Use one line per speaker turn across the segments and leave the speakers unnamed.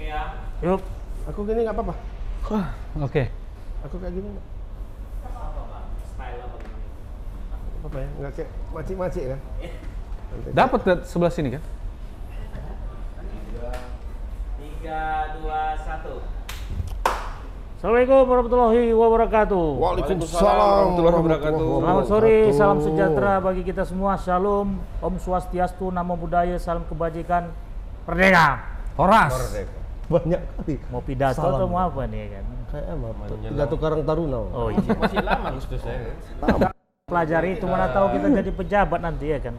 Yuk.
Aku gini nggak apa-apa.
Wah, Oke.
Aku kayak gini nggak. Apa ya? Nggak kayak macik-macik kan? Nanti
Dapat lihat sebelah sini kan?
tiga dua satu
Assalamualaikum warahmatullahi wabarakatuh.
Waalaikumsalam warahmatullahi
Selamat sore, salam sejahtera bagi kita semua. Shalom, Om Swastiastu, Namo Buddhaya, salam kebajikan. Merdeka.
Horas.
Banyak kali.
Mau pidato atau
Salam.
mau apa nih kan?
Kayak apa? Pidato Karang Taruna.
Oh iya.
masih lama Gus Gus ya
Pelajari itu mana tahu kita jadi pejabat nanti ya kan.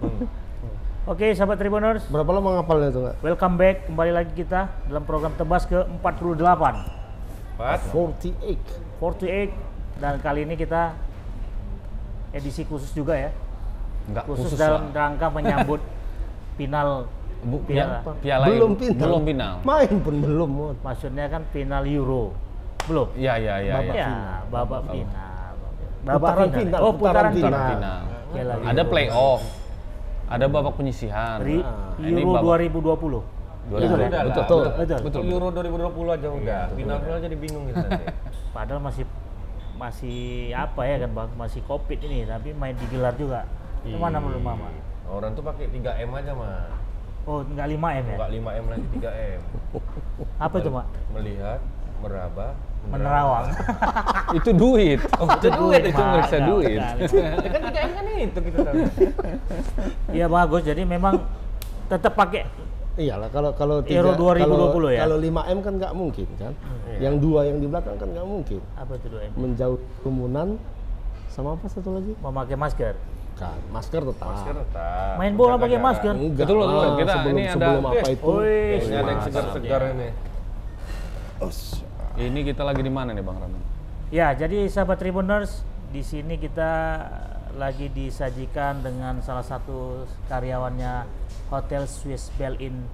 Oke, sahabat Tribuners,
Berapa lama ngapalnya itu nggak?
welcome back kembali lagi kita dalam program tebas ke 48.
empat
48.
48 dan kali ini kita edisi khusus juga ya.
Enggak
Khusus,
khusus
dalam
lah.
rangka menyambut final
Bu,
piala.
piala. piala
belum
Euro.
final.
Belum final.
Main pun belum. Mon.
Maksudnya kan final Euro. Belum.
Iya, iya, iya.
Ya,
iya.
babak final.
Putaran
ya?
final,
Oh, putaran
putaran
final. Nah,
Final.
Nah.
Piala Euro.
iya. Ada playoff. Ada babak penyisihan.
Ri-
Nah, ini
Euro
babak-
2020.
Dua
Ya,
ribu.
udah lah.
betul,
Betul.
betul, betul,
Betul.
Euro 2020 aja udah final final jadi bingung gitu nanti
Padahal masih masih apa ya kan Bang, masih Covid ini tapi main digelar juga.
Iya.
Itu mana menurut Mama?
orang tuh pakai 3 m aja mah
Oh, enggak 5M ya?
nggak 5 m lagi 3 m
Apa itu, Mak?
melihat meraba
Menerawang.
Itu duit. Oh, itu duit, itu
Mahal
ngeriksa duit.
sekali.
Ya kan 3 m kan itu gitu kan
Iya bagus. Jadi memang tetap pakai
Iyalah kalau kalau
Euro 2020
kalau,
ya?
Kalau 5M kan nggak mungkin kan. Yang dua yang di belakang kan nggak mungkin.
apa itu dua M?
Menjauh kerumunan sama apa satu lagi?
Memakai masker.
Kan masker tetap.
masker tetap
Main bola pakai
Jaga-jaga.
masker.
Enggak.
Betul, betul.
lah,
Kita
sebelum,
ini ada-
sebelum apa
eh,
itu.
Wih,
Ini ada yang segar-segar ini
Ini kita lagi di mana nih Bang Ramon?
Ya, jadi sahabat Tribuners, di sini kita lagi disajikan dengan salah satu karyawannya Hotel Swiss Bell Inn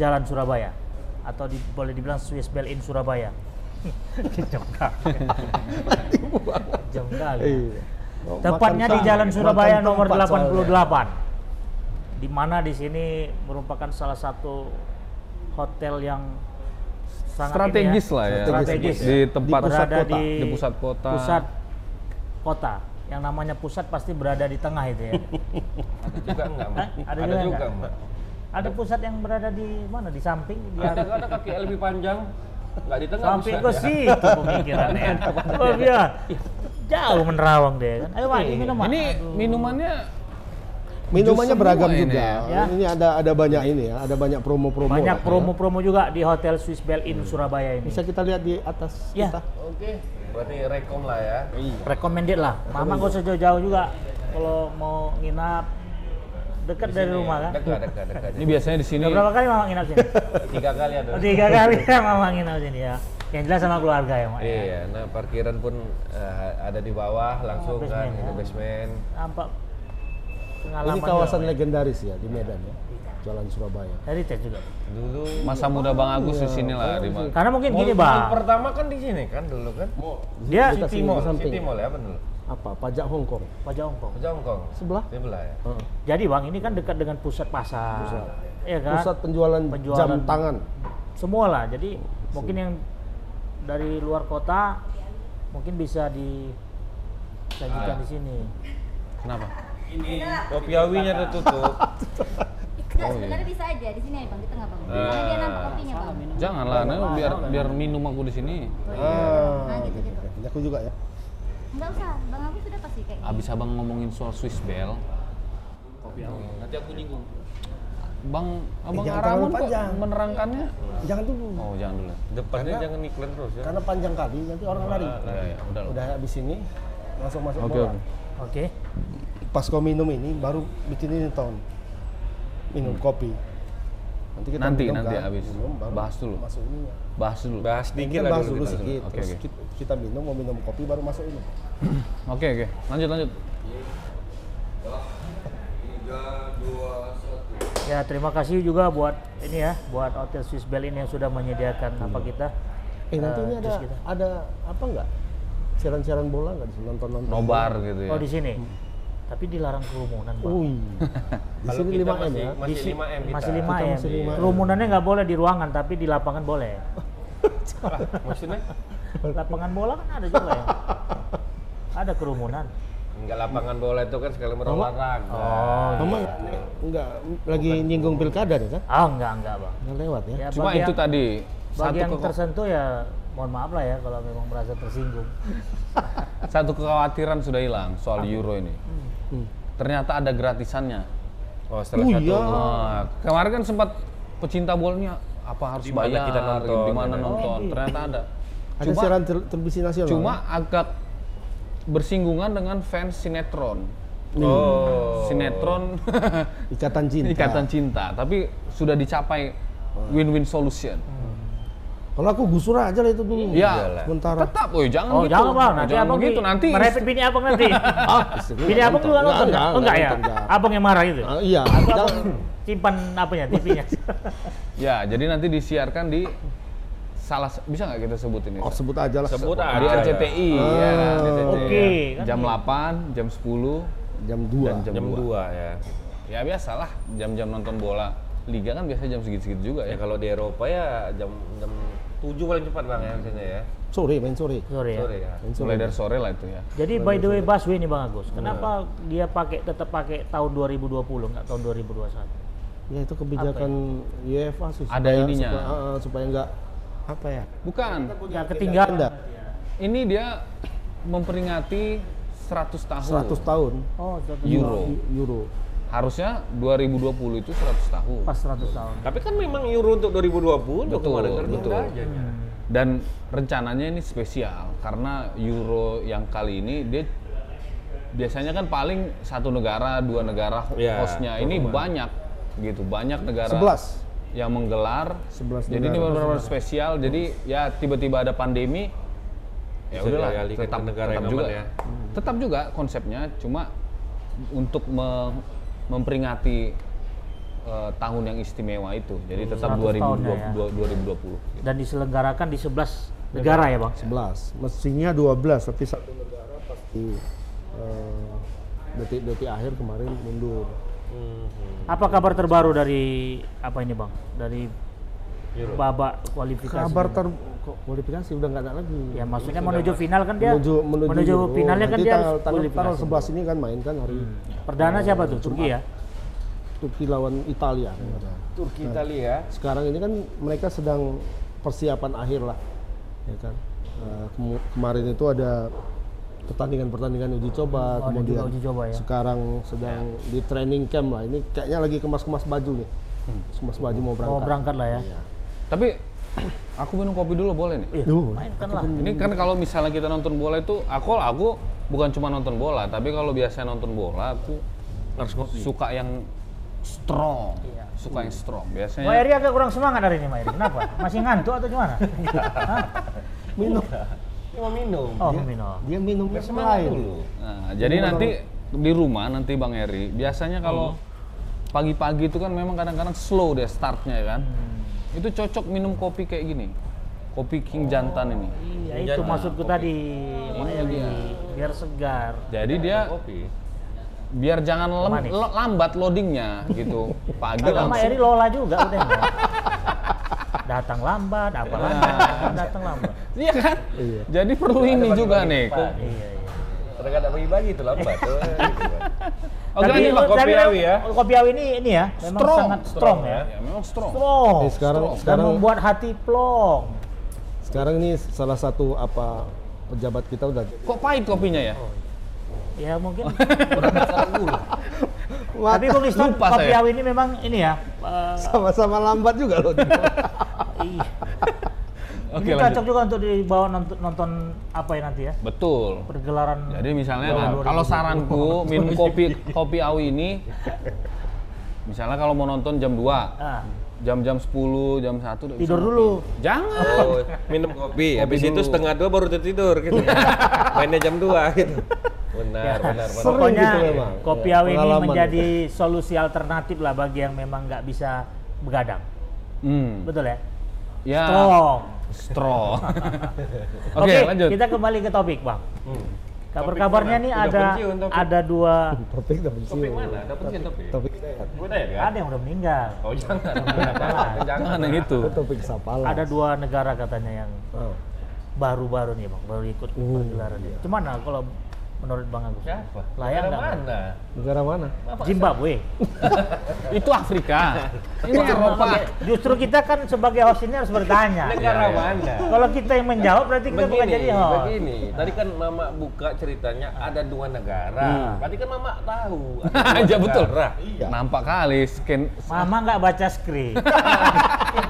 Jalan Surabaya atau di- boleh dibilang Swiss Bell Inn Surabaya. Kejam kali. Kejam kali.
Iya. Oh,
Tepatnya
makan
di Jalan
tangan,
Surabaya
makan
nomor
tempat ya. soalnya.
88. Di mana di sini merupakan salah satu hotel yang sangat
Strategis
ini
lah ya.
Strategis.
Di tempat
berada
pusat kota.
di,
Di pusat kota.
pusat kota. Yang namanya pusat pasti berada di tengah itu ya.
ada juga enggak Mbak?
Hah? Ada
ada
juga
juga
enggak?
Mbak
Ada pusat yang berada di mana? Di samping, di
ada
atas.
ada kaki lebih panjang nggak di tengah
Sampai
bisa
ke
Iya.
dia.
situ pemikirannya. ya. Luar biasa. Jauh menerawang deh kan. Ayo Mak, ini minum Mak.
Iya. Ini
Aduh.
minumannya
Minumannya
Jus
beragam
semua
juga.
ini
Ini,
ya.
ada ada banyak ini ya, ada banyak promo-promo.
Banyak
lah, ya.
promo-promo juga di Hotel Swiss Bell
Hmm.
Inn Surabaya ini.
Bisa kita lihat di atas
Ya.
kita.
Oke, berarti rekom lah ya.
Recommended lah. Mama gak usah jauh-jauh juga. Kalau mau nginap dekat dari rumah kan.
Dekat, dekat, dekat.
ini biasanya di sini
Udah berapa kali Mama nginap sini?
Tiga kali ada.
Oh, Tiga kali ya Mama nginap sini ya. Yang jelas sama keluarga ya, Mak. ya.
Iya, nah parkiran pun eh, ada di bawah langsung kan,
basement,
itu
ya.
basement.
Nampak pengalaman.
Ini kawasan legendaris ya di Medan ya. Jalan Surabaya.
dari tes juga.
Dulu
masa muda Bang Agus di
Iya.
sinilah di Bang.
Karena mungkin
mall-
gini,
mall
Bang. Ya.
pertama kan di sini kan dulu kan.
Dia
City
Kita sini di
Mall,
samping.
City Mall ya benar.
Apa? Pajak Hong Kong.
Pajak Hongkong.
Pojok Hongkong.
Sebelah.
Sebelah ya.
Heeh.
Jadi, Bang, ini kan dekat dengan pusat pasar.
Pusat.
Iya kan?
Pusat penjualan,
Penjualan-
jam tangan.
semua lah jadi mungkin yang dari luar kota mungkin bisa disajikan
Ah.
di sini
Kenapa?
Kopi awinya tertutup.
Oh,
Enggak,
iya.
sebenarnya bisa aja di sini aja bang di tengah bang.
Ah.
Karena dia nampak kopinya bang.
Janganlah, nah, biar biar minum aku di sini.
Oh, iya.
Ah,
Nah, gitu,
oke,
gitu.
oke. Ini Aku juga ya.
Enggak usah, bang aku sudah pasti kayak gini.
Abis abang ngomongin soal Swiss Bell,
Nanti aku nyinggung.
Bang Abang
Eh, jangan
Aramun
terlalu
kok
panjang.
menerangkannya.
Jangan dulu.
Oh jangan dulu.
Depannya jangan iklan terus ya.
Karena panjang kali nanti orang Ah, lari.
Ya, ya, udah lah.
Udah habis ini langsung masuk
Oke,
bola.
oke.
oke
Pas kau minum ini baru bikin ini tahun. Minum kopi. Nanti
Hmm. Nanti,
minum
nanti
kan,
habis.
minum, baru
Bahas dulu.
Masuk ininya.
Bahas dulu. Oke
Bahas
Ini
dikit
kan
lah
bahas
dulu gitu.
dulu
kita.
sedikit,
Oke,
terus
oke.
Kita, kita minum, mau minum kopi baru masuk ini.
oke. Lanjut lanjut.
ya terima kasih juga buat ini ya buat hotel Swiss Bell ini yang sudah menyediakan apa kita
Eh nanti
Eh,
ini ada
jus kita.
ada apa nggak? Siaran-siaran bola nggak di nonton nonton?
Iya.
Nobar gitu ya.
Hmm.
oh di Oh, sini Tapi dilarang kerumunan, Pak.
Ui. Di
Kalau
sini
kita
5 m
masih-
Di
ya.
si-
masih 5M kita.
Masih 5
Kita
m.
masih 5M.
Kerumunannya nggak boleh di ruangan, tapi di lapangan boleh.
Ah, maksudnya
lapangan bola kan ada juga ya. Ada kerumunan.
enggak lapangan bola itu kan Oh, sekali berolahraga.
Oh.
Memang enggak iya, lagi nyinggung pilkada deh kan?
Ah, enggak, enggak, Bang.
Enggak lewat ya.
Ya,
Cuma
bagi
itu
yang-
tadi
Bagi yang
keko-
tersentuh ya mohon maaf lah ya kalau memang merasa tersinggung.
satu kekhawatiran sudah hilang
Ah.
soal euro ini.
Hmm.
Ternyata ada gratisannya.
Oh, setelah
Oh,
satu.
iya.
Nah, kemarin kan sempat pecinta bolanya apa harus
Di mana
bayar
kita nonton,
di mana
ya.
nonton. Ternyata
Oh,
ada.
iya. Ada
Cuma
siaran tel- televisi nasional. kan?
cuma agak bersinggungan dengan fans sinetron.
Oh.
Sinetron
ikatan cinta.
Ikatan Cinta, tapi sudah dicapai
Oh.
win-win solution.
Kalau aku gusur aja lah itu
Hmm,
dulu.
Iya.
Sementara.
Tetap, oh jangan
Oh,
gitu.
jangan Bang, nanti
Jangan
abang
begitu
di-
nanti.
merepet bini abang nanti. Ah, bini abang juga
Enggak,
nonton
enggak,
enggak? Oh, enggak ya?
enggak, enggak.
Abang yang marah itu.
Ah, iya.
Abang
Jangan.
simpan apanya TV-nya.
Ya, jadi nanti disiarkan di salah bisa nggak kita sebutin ini?
Oh, sebut aja lah.
Sebut aja.
di RCTI
Oh.
ya, kan,
Ah,
RCTI.
oke, kan
Jam
gitu.
8, jam 10,
Jam
dan
2.
jam,
jam
2.
2 ya.
Ya biasalah, jam-jam nonton bola. Liga kan biasanya jam segitu-segitu juga
Ya
ya.
kalau di Eropa ya jam jam 7 paling cepat Bang ya biasanya ya.
Sore main sore.
Sorry ya.
Sore ya.
Main sore.
Mulai dari sore lah itu ya.
Jadi by the way busway nih Bang
Iya.
Agus, kenapa dia pakai tetap pakai tahun 2020 nggak tahun 2021?
Ya itu kebijakan
ya?
UEFA sih.
Ada
supaya-
ininya.
Supaya, ah, ah, supaya enggak apa ya?
Bukan,
Nggak ketinggalan.
Anda
ini dia memperingati 100 tahun.
100 tahun
Oh, seratus tahun.
Euro.
euro.
Harusnya 2020 itu 100 tahun.
Pas 100 tahun.
Tapi kan memang Euro untuk 2020
Betul,
kemarin tertunda
betul.
aja.
Dan rencananya ini spesial karena Euro yang kali ini dia biasanya kan paling satu negara, dua negara ho-
Ya,
hostnya. Ini banyak gitu, banyak negara
11.
yang menggelar.
11
jadi ini
negara.
benar-benar spesial. Jadi ya tiba-tiba ada pandemi. Ya
Bisa
udahlah,
dialihkan ke
tetap
negara
tetap
yang aman
juga Hmm.
ya.
Tetap juga konsepnya cuma untuk me- memperingati eh, tahun yang istimewa itu. Jadi tetap
100 tahun ya,
2020,
ya.
2020.
Dan diselenggarakan di 11 negara ya, Bang?
11. Mestinya 12 tapi satu negara pasti eh, detik-detik akhir kemarin mundur.
Apa kabar terbaru dari apa ini bang? Dari
Euro.
babak kualifikasi.
Kabar ter kok kualifikasi udah nggak ada lagi.
Ya maksudnya menuju final kan dia.
menuju menuju, Euro.
finalnya kan
Nanti
dia
tanggal,
harus
tanggal, tanggal
kualifikasi. Hmm.
11 ini kan main kan hari
Perdana siapa tuh? Turki ya.
Turki lawan Italia.
Hmm.
Turki Italia ya.
sekarang ini kan mereka sedang persiapan akhir lah ya kan Eh, kemu- kemarin itu ada pertandingan pertandingan uji coba
Oh, ada juga
kemudian
uji coba ya.
sekarang sedang di training camp lah ini kayaknya lagi kemas kemas baju nih kemas baju mau berangkat
Mau Hmm. berangkat lah ya.
Tapi aku minum kopi dulu boleh nih.
Iya.
Duh,
Mainkan lah.
Ini kan kalau misalnya kita nonton bola itu aku aku bukan cuma nonton bola, tapi kalau biasanya nonton bola aku
Iya.
suka yang strong, suka yang strong. Biasanya
Mbak Iya. Eri agak kurang semangat hari ini Mbak Eri. Kenapa? Masih ngantuk atau gimana? Hah?
minum
Cuma minum.
Oh, minum.
dia minum
Biar
es
semangat
lain
dulu.
Nah, jadi nanti di rumah nanti Bang Eri biasanya
Hmm.
kalau pagi-pagi itu kan memang kadang-kadang slow deh startnya ya kan.
Hmm.
Itu cocok minum kopi kayak gini. Kopi King Jantan ini.
Oh, Iya itu
Jangan,
maksudku
kopi.
tadi Mbak Eri. Biar segar.
Jadi dia
Kopi.
biar jangan lem-
Manis.
lo- lambat loadingnya gitu. Pagi
Agak Mbak
langsung
Eri lola juga udah. Mbak. Datang lambat, apa lambat, datang lambat.
Iya kan?
Iya.
Jadi perlu ini juga nih.
Pak.
Iya, iya.
Terkadang bagi-bagi itu lambat. Oh, gitu kan.
Oke,
Tapi-
ini Pak,
kopi
tapi
awi ya.
Kopi awi ini ini ya, memang
Strong.
sangat strong, ya.
Ya, memang strong.
Strong.
Eh, sekarang
strong.
Dan
sekarang
membuat hati plong.
sekarang ini salah satu apa pejabat kita udah
Kok pahit kopinya ya?
Oh. Ya mungkin.
Mata
tapi Bung Liston,
Lupa
kopi
saya.
awi ini memang ini ya. eh,
sama-sama lambat juga loh
iya.
Oke,
ini
lanjut.
cocok juga untuk dibawa nonton, nonton apa ya nanti ya?
Betul.
Pergelaran.
Jadi misalnya
Tahun
nah,
2020.
kalau saranku minum kopi kopi awi ini misalnya kalau mau nonton jam 2,
Ah,
jam-jam 10, jam 1 udah bisa
tidur
ngopi.
dulu.
Jangan.
Oh, minum kopi, habis itu
dulu.
setengah dua baru tertidur gitu. Mainnya jam 2 gitu. Benar, benar, benar.
Sering
Pokoknya
gitu memang.
kopi
Iya,
awi ini
pengalaman. gitu.
menjadi solusi alternatif lah bagi yang memang nggak bisa begadang.
Hmm.
Betul ya?
Ya.
Strong.
Strong. Oke,
Oke,
lanjut.
kita kembali ke topik, Bang. Kabar-kabarnya
mana?
nih
Udah
ada
pensiun, Hmm. topik.
ada dua
Topik udah
Topik
pensiun.
mana? Dapat sih topik.
Topik sehat.
Gue tanya dia.
ada yang udah meninggal.
ya? Oh jangan.
Jangan yang itu.
Itu topik
Oh.
sapala.
Ada dua negara katanya yang
Oh.
baru-baru nih bang, baru ikut pergelaran ini. Cuman nah, kalau menurut bang Agus,
Siapa?
layak
Negara
nggak?
mana?
Negara mana?
Zimbabwe.
Itu Afrika. Ini Eropa.
Justru kita kan sebagai host ini harus bertanya.
Negara
Ya, ya.
mana?
Kalau kita yang menjawab berarti kita bukan
Begini,
jadi host.
begini. Tadi kan Mama buka ceritanya ada dua negara. Tadi kan Mama tahu. ada dua
Aja Iya, betul.
negara. Iya.
Nampak kali scan
Mama nggak baca skrip.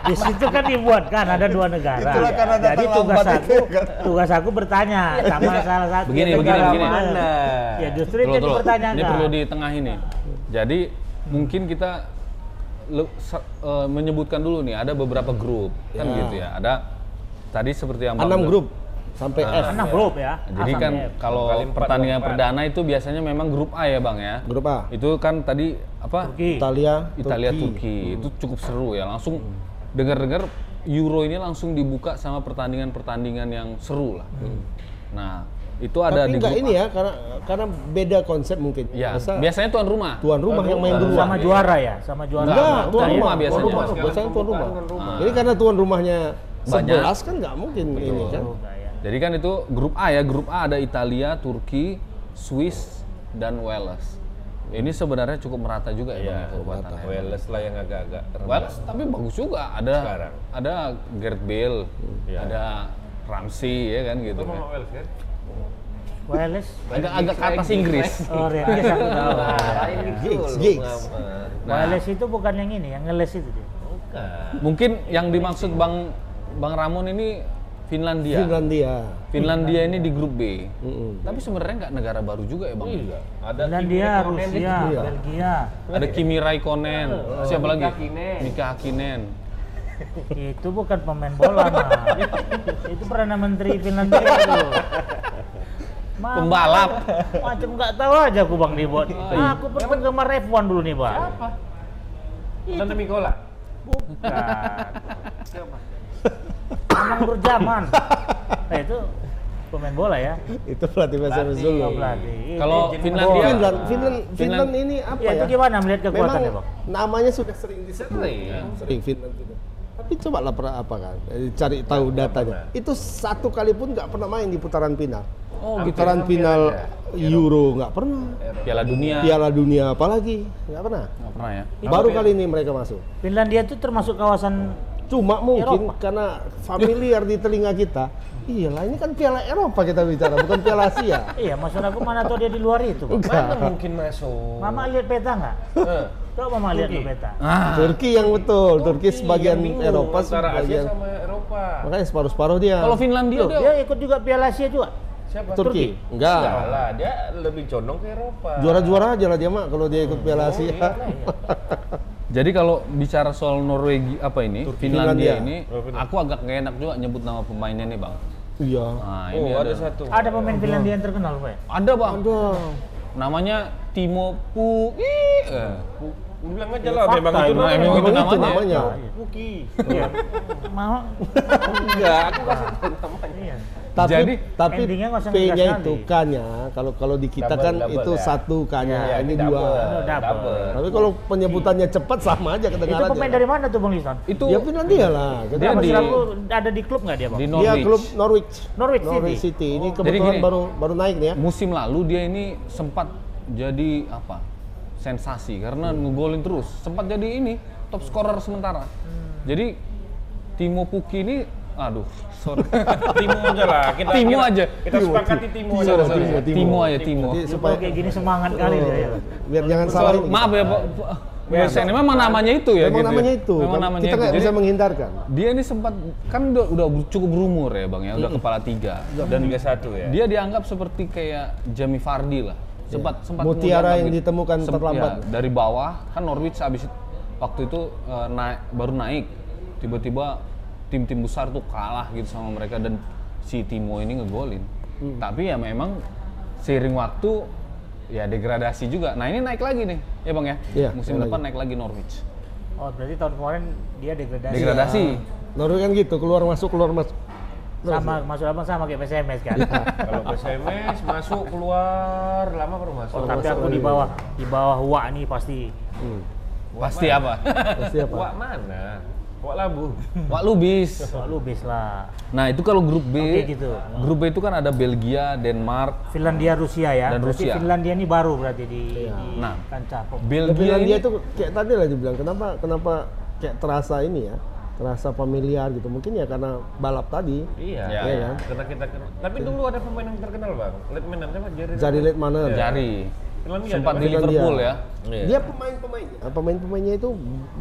Di situ kan dibuat kan ada dua negara.
Itulah karena datang
Jadi tugas
lambat
aku tugas aku bertanya
Iya.
sama salah satu
Begini,
negara
begini, begini.
mana. Ya justru itu
Tunggu,
yang
tunggu.
dipertanyakan.
Ini perlu di tengah ini. Jadi mungkin kita le- sa- eh, menyebutkan dulu nih ada beberapa grup kan
Ya.
gitu ya. Ada tadi seperti yang Bang
Enam
bilang.
grup sampai F.
Enam grup ya.
Jadi
A
kan
sampai F.
kalau
Kali empat,
pertandingan
empat.
perdana itu biasanya memang grup A ya Bang ya.
Grup A.
Itu kan tadi apa?
Turki.
Italia,
Italia
Hmm.
Turki. Itu cukup seru ya. Langsung dengar-dengar Euro ini langsung dibuka sama pertandingan-pertandingan yang seru lah. Nah, itu ada
Hmm. Tapi
di
enggak
grup
ini ya karena karena beda konsep mungkin.
Ya,
Biasa
biasanya tuan rumah.
tuan rumah yang main duluan.
sama juara ya, sama juara. ya.
Enggak,
Enggak,
tuan
tuan
rumah
rumah biasanya.
Tuan rumah,
Sekarang
biasanya tuan rumah.
pembukaan tuan rumah.
Jadi karena tuan rumahnya
Banyak.
11 kan nggak mungkin ini kan.
Enggak ya.
Jadi kan itu grup A ya, grup A ada Italia, Turki, Swiss, dan Wales. Ini sebenarnya cukup merata juga
Iya,
ya, Bang, kekuatannya.
Wales lah yang agak-agak rendah.
Wales tapi bagus juga. Ada
Sekarang.
ada Gareth Bale,
Iya.
ada Ramsey ya kan gitu. kan.
Wales kan?
Wales.
Agak agak ke atas Inggris.
Oh, Reyes aku tahu.
Nah.
Lain gitu loh,
Giggs.
Mama.
Wales itu bukan yang ini, yang ngeles itu dia.
Bukan.
Mungkin yang dimaksud Bang Bang Ramon ini Finlandia.
Finlandia.
Finlandia ini di grup B.
Mm-mm.
Tapi sebenarnya nggak negara baru juga ya Bang.
Iya. Ada
Finlandia,
Timur Ekonomi
Rusia,
juga.
Belgia,
Ada Kimi Raikkonen, siapa lagi?
Iya. Mika Hakkinen.
Mika Hakkinen.
itu bukan pemain bola mah. itu perdana menteri Finlandia itu. Mama,
Pembalap.
Macam nggak tahu aja aku bang Dibot. Aku penggemar F1 dulu nih bang.
Apa? Tante Mikola.
Bukan. Emang berjaman. Nah, itu pemain bola ya.
Itu pelatih bahasa Inggris dulu.
Oh, pelatih.
Kalau
Itu
Finlandia-
bola.
Finland, Finland,
Iya. Finland.
Finland ini apa
Ya,
ya?
itu gimana melihat
Memang
kekuatannya bang?
namanya sudah sering disebut.
Sering.
Sering Finland itu. Tapi coba lah pernah apa kan? Eh, Cari tahu datanya. Itu satu kali pun nggak pernah main di putaran final.
Oh, gitu.
putaran final
Iya.
Euro nggak pernah.
Piala Dunia.
Piala Dunia apalagi nggak pernah.
Nggak pernah ya.
Baru kali ini mereka masuk.
Finlandia itu termasuk kawasan
Cuma mungkin
Eropa.
karena familiar di telinga kita. Iyalah ini kan Piala Eropa kita bicara, bukan Piala Asia.
Iya, maksud aku mana tahu dia di luar itu. Bang.
Mana mungkin masuk?
Mama lihat peta nggak?
Eh,
Coba mama lihat ke peta.
Ah,
Turki yang betul, Turki sebagian
yang bingung
Eropa
Oh, iya, antara Asia
sebagian.
sama Eropa.
Makanya separuh-separuh Iya, dia.
kalau Finlandia
Loh,
dia,
dia ikut juga Piala Asia juga.
Siapa?
Turki? Enggak.
Enggak lah, dia lebih condong ke Eropa.
Juara-juara aja lah dia mah kalau dia ikut Piala
Oh,
Asia.
iya lah, iya.
Jadi kalau bicara soal Norwegia apa ini?
Finlandia.
Finlandia, ini
Oh,
aku agak nggak enak juga nyebut nama pemainnya nih, Bang.
Iya.
Nah,
oh,
ini
ada,
ada.
satu.
Ada pemain Finlandia yang terkenal, Pak.
Ada, Bang.
Aduh.
Namanya Timo Pu. Ih, eh.
Lu bilang aja lah,
Fakta
memang itu
itu,
namanya.
memang
Emang
itu
itu
namanya.
namanya.
Puki.
Iya. Mau
Enggak, aku kasih tahu namanya.
iya.
Tapi
Jadi,
tapi
endingnya nggak usah
P-nya
ngegas
itu
nanti.
K-nya. Kalau kalau di kita
Double,
kan
double
itu
ya.
satu K-nya,
Iya,
ini
double,
dua.
Double.
Tapi kalau penyebutannya cepat sama aja
Itu
kedengarannya.
pemain dari mana tuh, Bang Lisan?
Itu
Ya Finlandia lah.
Dia
Maksud
di-
aku ada di klub nggak dia, Bang?
di
Dia
Norwich.
klub Norwich.
Norwich City. Oh.
City. Ini
Jadi
kebetulan
gini.
baru baru naik nih ya.
Musim lalu dia ini sempat jadi apa? Sensasi karena
Hmm.
ngegolin terus. Sempat jadi ini top scorer sementara.
Hmm.
Jadi Timo Puki ini aduh, sorry.
Timo aja lah. Kita,
Timo
kita-
aja.
Kita sepakati Timo aja.
Sorry,
lah.
sorry.
Timo,
Timo aja
Timo.
Timo.
Jadi
Supaya
supaya
kayak gini semangat kali dia
Oh.
ya.
Oh. biar jangan salah
Sorry,
ini.
maaf ya Pak. Biasanya memang namanya itu ya
Memang
gitu ya?
namanya itu.
Memang
Kan
namanya
kita
itu.
nggak
Jadi,
bisa menghindarkan.
dia ini sempat kan udah, udah cukup berumur ya Bang ya, udah
Iya.
kepala tiga.
Dan Liga 1 ya.
Dia dianggap seperti kayak Jamie Vardy lah. Sempat sempat
Iya. Mutiara
dianggap
yang ditemukan terlambat.
ya, dari bawah kan Norwich habis itu- waktu itu eh, naik baru naik. Tiba-tiba tim-tim besar tuh kalah gitu sama mereka dan si Timo ini ngegolin.
Hmm.
Tapi ya memang seiring waktu ya degradasi juga. Nah, ini naik lagi nih. Ya Bang ya.
Iya,
Musim
naik
depan naik lagi Norwich.
Oh, berarti tahun kemarin dia degradasi.
Degradasi.
Norwich kan gitu, keluar masuk keluar masuk.
Sama, maksud abang sama kayak PSMS kan?
Iya.
Kalau SMS masuk keluar lama baru masuk.
oh, tapi aku di bawah, di bawah wak nih pasti.
Pasti apa?
Pasti apa?
Wak mana? Wak labu.
Wak Lubis.
Wak lubis lah.
Nah, itu kalau grup B.
Oke, gitu.
Grup B itu kan ada Belgia, Denmark.
Finlandia Rusia ya.
Dan
berarti
Rusia.
Finlandia ini baru berarti di, di
Nah.
kancah pop.
Belgia
Tapi kan
ini
dia tuh kayak tadi lah dibilang kenapa kenapa kayak terasa ini ya terasa familiar gitu mungkin ya karena balap tadi
Iya.
Iya,
iya.
Karena kita kenal. Tapi dulu ada pemain yang terkenal bang. Lihat mainan siapa? Jerry.
jadi late mana
jari.
Finlandia.
Sempat
ada, Bang?
di
Finlandia.
Liverpool ya.
dia pemain pemainnya pemain pemainnya itu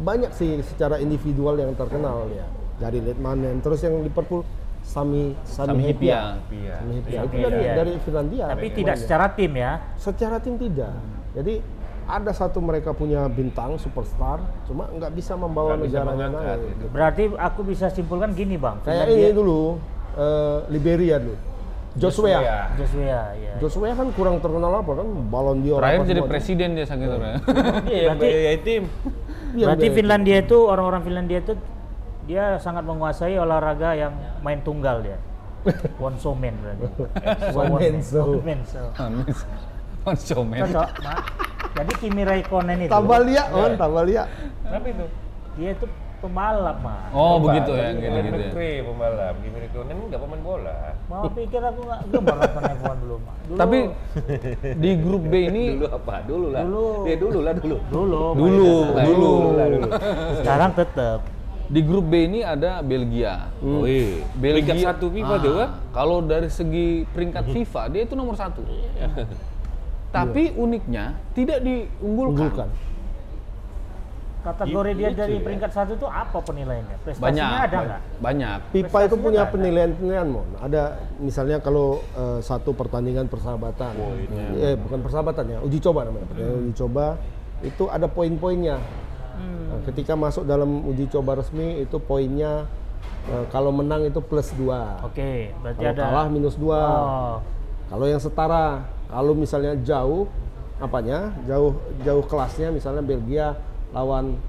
banyak sih secara individual yang terkenal ya dari Letmanen terus yang Liverpool Sami Sami,
Sami
Hyypiä.
Hyypiä.
Iya.
Sami Hyypiä. itu
Hyypiä,
dari
iya.
dari
Nah,
Finlandia
Tapi
pemainnya.
tidak secara tim ya.
secara tim tidak jadi ada satu mereka punya bintang superstar cuma nggak bisa membawa
Nggak bisa
negaranya
mengangkat,
naik
gitu.
Berarti aku bisa simpulkan gini bang.
Kayak
Finlandia-
ini dulu eh, Liberia dulu. Joshua.
Joshua ya.
Joshua kan kurang terkenal apa kan balon dia
Terakhir jadi presiden dia saking terkenal.
Iya,
Berarti-
Mbak tim.
Iya,
Berarti Finlandia itu orang-orang Finlandia itu dia sangat menguasai olahraga yang main tunggal dia. One so man berarti.
One man show.
One man show.
Pancho men.
Cocok, Mak. Jadi Kimi Raikkonen itu
Tambalia, on Tambalia.
Tapi itu.
dia itu pembalap, Mak.
Oh,
Coba,
begitu ya,
tapi
gitu
pemain
gitu ya.
negeri, pembalap. Gimana itu? Nen nggak pemain bola.
Mau pikir aku nggak gemar nonton F1 dulu, Mak. Dulu-
Tapi di grup B ini
Dulu apa? Dulu lah.
Dulu.
Ya dulu lah dulu.
dulu, Mak.
dulu dulu
lah dulu.
Sekarang tetap.
di grup B ini ada Belgia.
Wih. Hmm.
Belgia
Peringkat satu FIFA
Ah,
tuh kan? Hmm.
Kalau dari segi peringkat FIFA dia itu nomor satu. Tapi uniknya tidak
Unggulkan.
diunggulkan.
Kategori dia dari peringkat satu itu apa penilaiannya?
Banyak
Prestasinya ada nggak?
banyak.
Pipa itu punya penilaian-penilaian, Mon. Ada misalnya kalau eh, satu pertandingan persahabatan. eh, bukan persahabatan ya, uji coba namanya. Pertandingan uji coba itu ada poin-poinnya.
Hmm.
Nah, ketika masuk dalam uji coba resmi itu poinnya eh, kalau menang itu plus 2.
Oke, berarti
Kalau
ada.
kalah minus 2.
Oh,
Kalau yang setara, kalau misalnya jauh apanya? Jauh jauh kelasnya misalnya Belgia lawan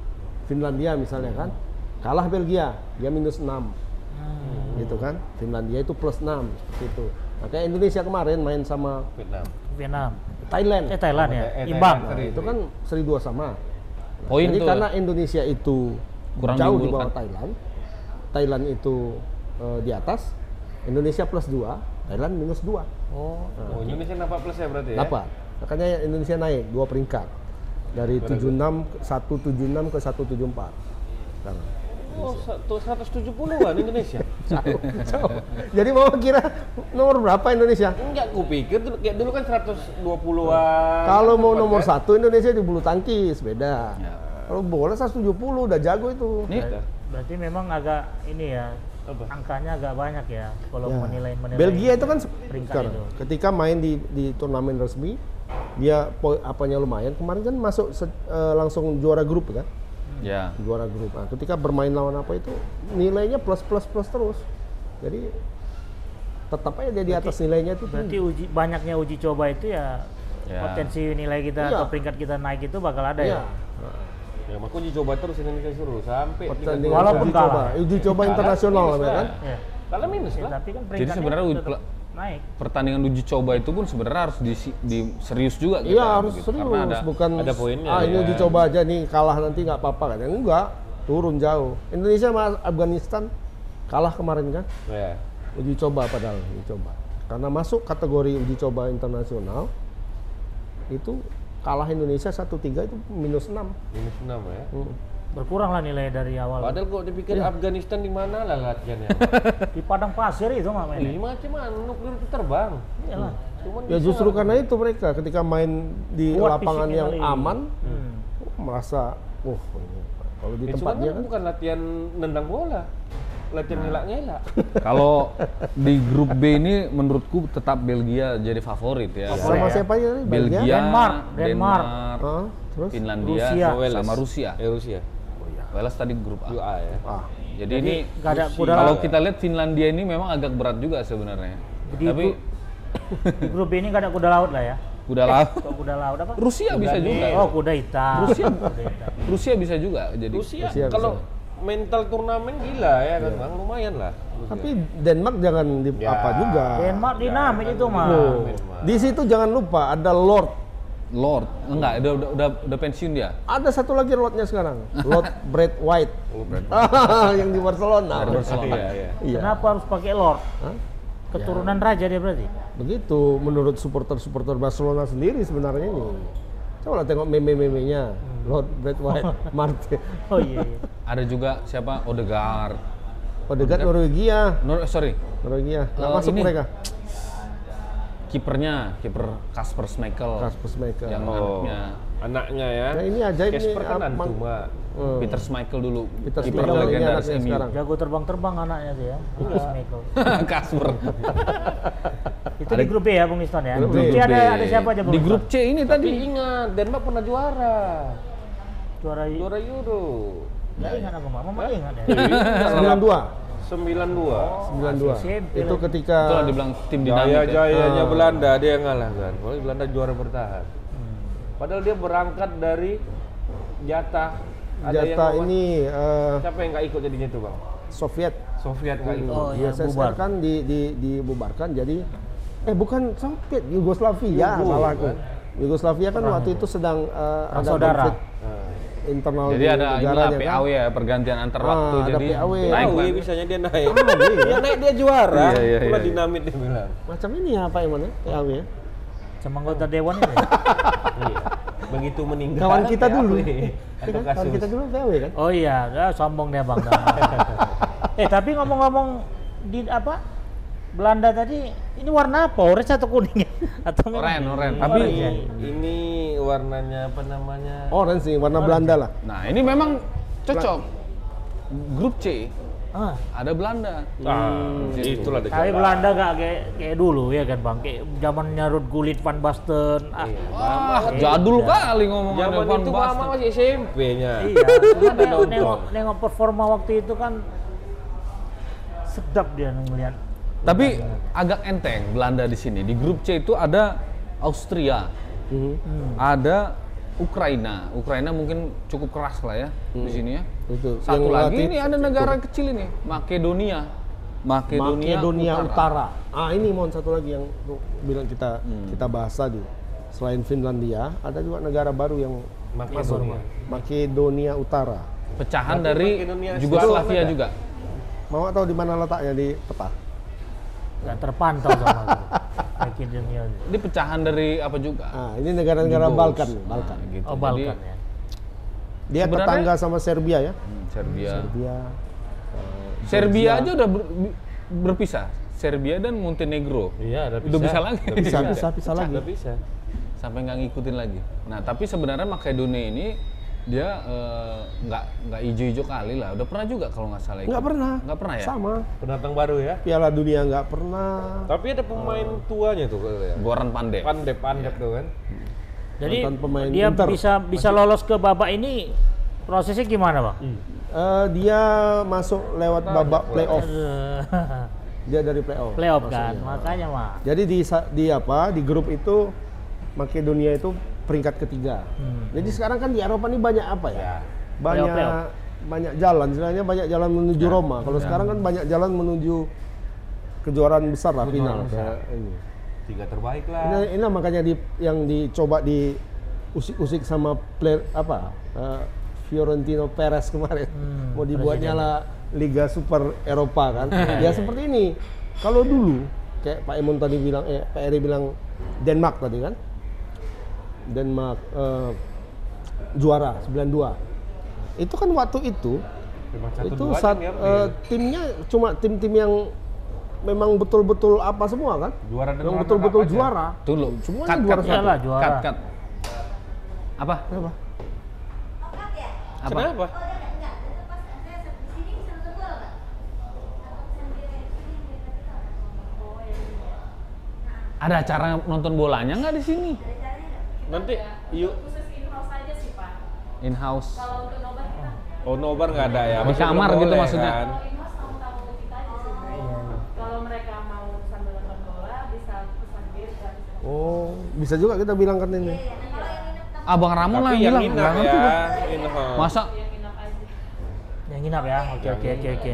Finlandia misalnya kan. Kalah Belgia, dia minus 6.
Hmm.
Gitu kan? Finlandia itu plus 6 seperti itu. Nah, kayak Indonesia kemarin main sama
Vietnam.
Vietnam.
Thailand.
Eh Thailand ya,
Eh, eh,
imbang.
Nah, itu kan seri dua sama. Nah,
Poin
Jadi
tuh.
karena Indonesia itu
Kurang
jauh di
diunggulkan.
bawah Thailand, Thailand itu eh, di atas, Indonesia plus 2, Thailand minus 2.
Oh,
Oh, Indonesia nampak plus ya berarti ya?
Dapat. Makanya Indonesia naik dua peringkat dari 76 ke- 176 ke 174. Sekarang.
Oh, satu- 170-an Indonesia.
Jauh, jauh. Jadi mau kira nomor berapa Indonesia?
Enggak, kupikir dulu, kayak dulu kan 120-an.
Kalau mau nomor satu Indonesia di bulu tangkis beda.
Ya.
Kalau bola 170 udah jago itu.
Ini
berarti memang agak ini ya,
Apa?
angkanya agak banyak ya kalau
Ya.
menilai menilai.
Belgia itu kan
peringkat
sekarang,
itu.
ketika main di di turnamen resmi dia po- apanya lumayan kemarin kan masuk se- eh, langsung juara grup kan
ya.
juara grup. Nah, ketika bermain lawan apa itu nilainya plus plus plus terus. Jadi tetap aja dia di atas nilainya itu Iya.
Berarti
tinggi.
uji banyaknya uji coba itu ya,
Ya.
potensi nilai kita
Iya.
atau peringkat kita naik itu bakal ada
Iya.
ya.
Ya, makanya uji coba terus Indonesia suruh sampai
Pertandingan
Walaupun
uji coba,
kalah.
uji coba internasional
minus
ya
lah.
kan.
Iya.
Kalau minus
Ya,
lah.
tapi kan peringkatnya
sebenarnya uji
tetap
kela-
naik.
Pertandingan uji coba itu pun sebenarnya harus di, di- serius juga kita,
Iya harus
begitu.
serius,
Karena ada
bukan
ada poinnya,
ah ini
iya.
ya.
uji coba aja nih kalah nanti nggak apa-apa kan? Enggak, turun jauh. Indonesia sama Afghanistan kalah kemarin kan?
Ya.
Uji coba padahal uji coba. Karena masuk kategori uji coba internasional itu kalah Indonesia 1-3 itu minus 6.
Minus 6 ya.
Hmm.
Berkurang lah nilai dari awal.
Padahal kok dipikir
Iya.
Afghanistan di mana lah latihannya.
Di padang pasir itu mah mainnya.
Ini macam mana nuklir itu terbang.
Iyalah.
Cuman
Ya justru karena itu mereka ketika main di
Iya. Kuat
lapangan
fisiknya
yang
kali. Hmm.
aman merasa wah ini kalau di
Ya,
di
tempat dia kan
Eh, bukan latihan nendang bola. Latihan ngelak-ngelak.
Kalau di grup B ini menurutku tetap Belgia jadi favorit ya.
Favorit.
sama
Korea.
siapa aja tadi?
Belgia,
Denmark,
Denmark,
Denmark.
Ah, terus
Iya. Finlandia,
Rusia.
sama Rusia.
Eh, Rusia.
Wales tadi grup A.
UA ya.
ah
Jadi, ini
nggak ada kuda
kalau kita lihat Finlandia ini memang agak berat juga sebenarnya.
Jadi
Tapi
itu- di grup ini nggak ada kuda laut lah ya.
kuda laut.
Kalau kuda laut apa?
Rusia bisa juga.
Oh, kuda hitam.
Rusia.
Kuda hitam.
Rusia bisa juga jadi.
Rusia,
Rusia
kalau mental turnamen gila ya kan bang, lumayan lah. Iya.
Tapi Denmark jangan di
Ya.
apa juga.
Denmark dinamik itu
kan.
mah.
Loh, Di situ jangan lupa ada Lord.
Lord, enggak, udah udah udah, udah pensiun dia.
Ada satu lagi Lordnya sekarang, Lord Brad White. yang di Barcelona.
Dari Barcelona.
Iya, iya.
Iya. Ya.
Kenapa harus pakai lord?
Hah?
Keturunan raja dia berarti.
Begitu menurut supporter-supporter Barcelona sendiri sebenarnya ini. Coba lah tengok meme-memenya. Lord Brad White, Martin,
Oh iya. iya.
Ada juga siapa? Odegaard.
Odegaard Oh, Norwegia,
Nor sorry,
Norwegia. Nggak
Eh,
masuk
ini.
mereka.
kipernya, kiper Kasper Schmeichel.
Kasper Schmeichel.
Yang
Oh,
anaknya.
anaknya ya.
Nah, ini ajaib nih,
Casper kan
ah, Mang-
Antuma.
Hmm.
Peter Schmeichel dulu,
Peter
kiper
Schmeichel ini
legendaris
anaknya
MU.
sekarang.
Jago terbang-terbang anaknya sih ya. Michael.
Kasper.
Itu di grup B ya Bung Iston ya.
Grup
Grup
B.
B ada ada siapa aja Bung
Di grup
Iston?
C ini
Tapi
tadi.
ingat, Denmark pernah juara.
juara
Juara Euro.
Enggak ingat apa Bang? Mama ingat ya.
92. Oh.
92.
92.
Simple.
Itu ketika
Itulah dibilang tim dinamik. ya.
Jaya-jayanya Belanda dia yang ngalahkan. Kalau Belanda juara bertahan. Hmm. Padahal dia berangkat dari jatah.
jatah
yang
ini eh,
Siapa yang nggak ikut jadinya itu bang?
Soviet
Soviet nggak ikut.
Oh, ya,
USSR
bubar.
kan di, di, dibubarkan jadi eh bukan Soviet Yugoslavia
Yugo,
salah aku
kan.
Yugoslavia kan waktu itu sedang eh, ada
saudara.
konflik internal
Jadi
di
ada inilah
negaranya, kan.
PAW ya, pergantian antar
Ah,
waktu.
ada
Jadi
PAW.
naik kan?
Tahu
Bang.
ya
iya,
bisanya dia naik. dia naik dia juara.
Iya, iya,
Itulah
iya.
dinamit dia bilang.
macam ini ya Pak Iman ya PAW ya
Sama anggota dewan itu. ya?
Iya. Begitu meninggal.
kawan kita
PAW.
dulu
Ada
Kan, kawan
kasus.
kita dulu PAW kan
Oh iya, ya, sombong dia Bang. eh, tapi ngomong-ngomong di apa? Belanda tadi ini warna apa? Orange atau kuning ya? Atau merah?
Oren, oren.
Tapi
Tapi
Iya,
Orange ya?
ini warnanya apa namanya?
orange sih warna Belanda lah
nah ini memang cocok. Grup C
Ah,
ada Belanda.
Ah, itulah dia.
tapi Belanda gak kayak kayak dulu ya kan Bang. Kayak zamannya Ruud Gullit van Basten. Ah,
Wah, jadul
Iya.
kali ngomong ada
Zaman
Van
itu
Basten.
mama masih SMP-nya.
Iya, cuman
Ada
nengok,
nonton.
nengok, nengok performa waktu itu kan sedap dia ngeliat.
Tapi agak enteng Belanda di sini. Di grup C itu ada Austria, ada Ukraina. Ukraina mungkin cukup keras lah ya di sini ya.
itu
Satu
yang
lagi
ngelatih
ini ada negara kecil ini, Makedonia. Makedonia,
Makedonia Utara. Ah ini mohon satu lagi yang lu bilang kita
Hmm.
kita bahas tadi. Selain Finlandia, ada juga negara baru yang
Makedonia.
Makedonia Utara.
Pecahan dari
Makedonia
Yugoslavia
Selatan.
juga.
Mau tahu di mana letaknya di peta?
Gak terpantau sama aku. gitu Makin dunia.
Ini pecahan dari apa juga?
Ah, ini negara-negara
Yugos.
Balkan,
Nah,
Balkan.
gitu.
Oh,
Jadi,
Balkan ya.
Dia
Sebenarnya-
tetangga sama Serbia ya.
hmm, Serbia.
Serbia.
Serbia aja udah ber- bi- berpisah. Serbia dan Montenegro.
Iya, ada
Udah bisa lagi.
Bisa bisa bisa lagi.
Nggak bisa.
sampai nggak ngikutin lagi. Nah tapi sebenarnya Makedonia ini dia eh, nggak nggak ijo-ijo kali lah. Udah pernah juga kalau nggak salah. ikut.
Nggak pernah.
Nggak pernah ya.
Sama.
Pendatang baru ya.
Piala Dunia nggak pernah.
Tapi ada pemain tuanya tuh katanya.
Goran Pandey.
Pandep, pandep tuh kan.
Jadi
Mantan pemain
dia
Inter.
bisa bisa lolos ke babak ini prosesnya gimana bang?
Eh, dia masuk lewat babak playoff. Dia dari playoff.
Playoff kan, makanya mah.
Jadi di sa- di apa di grup itu Makedonia itu peringkat ketiga. Jadi sekarang kan di Eropa ini banyak apa ya?
Ya.
Banyak
Playoff-playoff.
banyak jalan, sebenarnya banyak jalan menuju Roma. Kalau sekarang kan banyak jalan menuju kejuaraan besar lah final. Kayak Ini.
Tiga terbaik
Ini,
lah.
ini Nah, makanya di, yang dicoba di usik-usik sama player apa? eh, Fiorentino Perez kemarin
Hmm,
mau dibuatnya lah Liga Super Eropa kan. ya seperti ini. Kalau dulu kayak Pak Emon tadi bilang eh Pak Eri bilang Denmark tadi kan. Denmark eh, juara 92. Itu kan waktu itu
Cuma satu
itu
dua
saat
tim ya,
eh, timnya cuma tim-tim yang memang betul-betul apa semua kan?
Juara dan
yang
runner-up
betul-betul
aja.
juara.
Tuh lo,
Semuanya
cut,
juara
cut,
satu. Iyalah,
cut.
juara.
Cut, cut. Apa?
Kenapa? Ah.
ya?
Apa?
Kenapa?
Oh,
Ada acara nonton bolanya nggak di sini?
Nanti yuk
In house.
Oh, nobar nggak ada ya?
Di
Masih belum
kamar gitu
boleh,
maksudnya.
kan?
Kalau mereka mau sambil nonton bola bisa pesan bir dan
Oh, bisa juga kita bilang kan ini.
Abang Ramon lah
Tapi
yang
yang ya, nginap
bilang. Ramon
ya.
tuh-
in-house.
Masa
Yang nginap ya. Oke oke oke oke.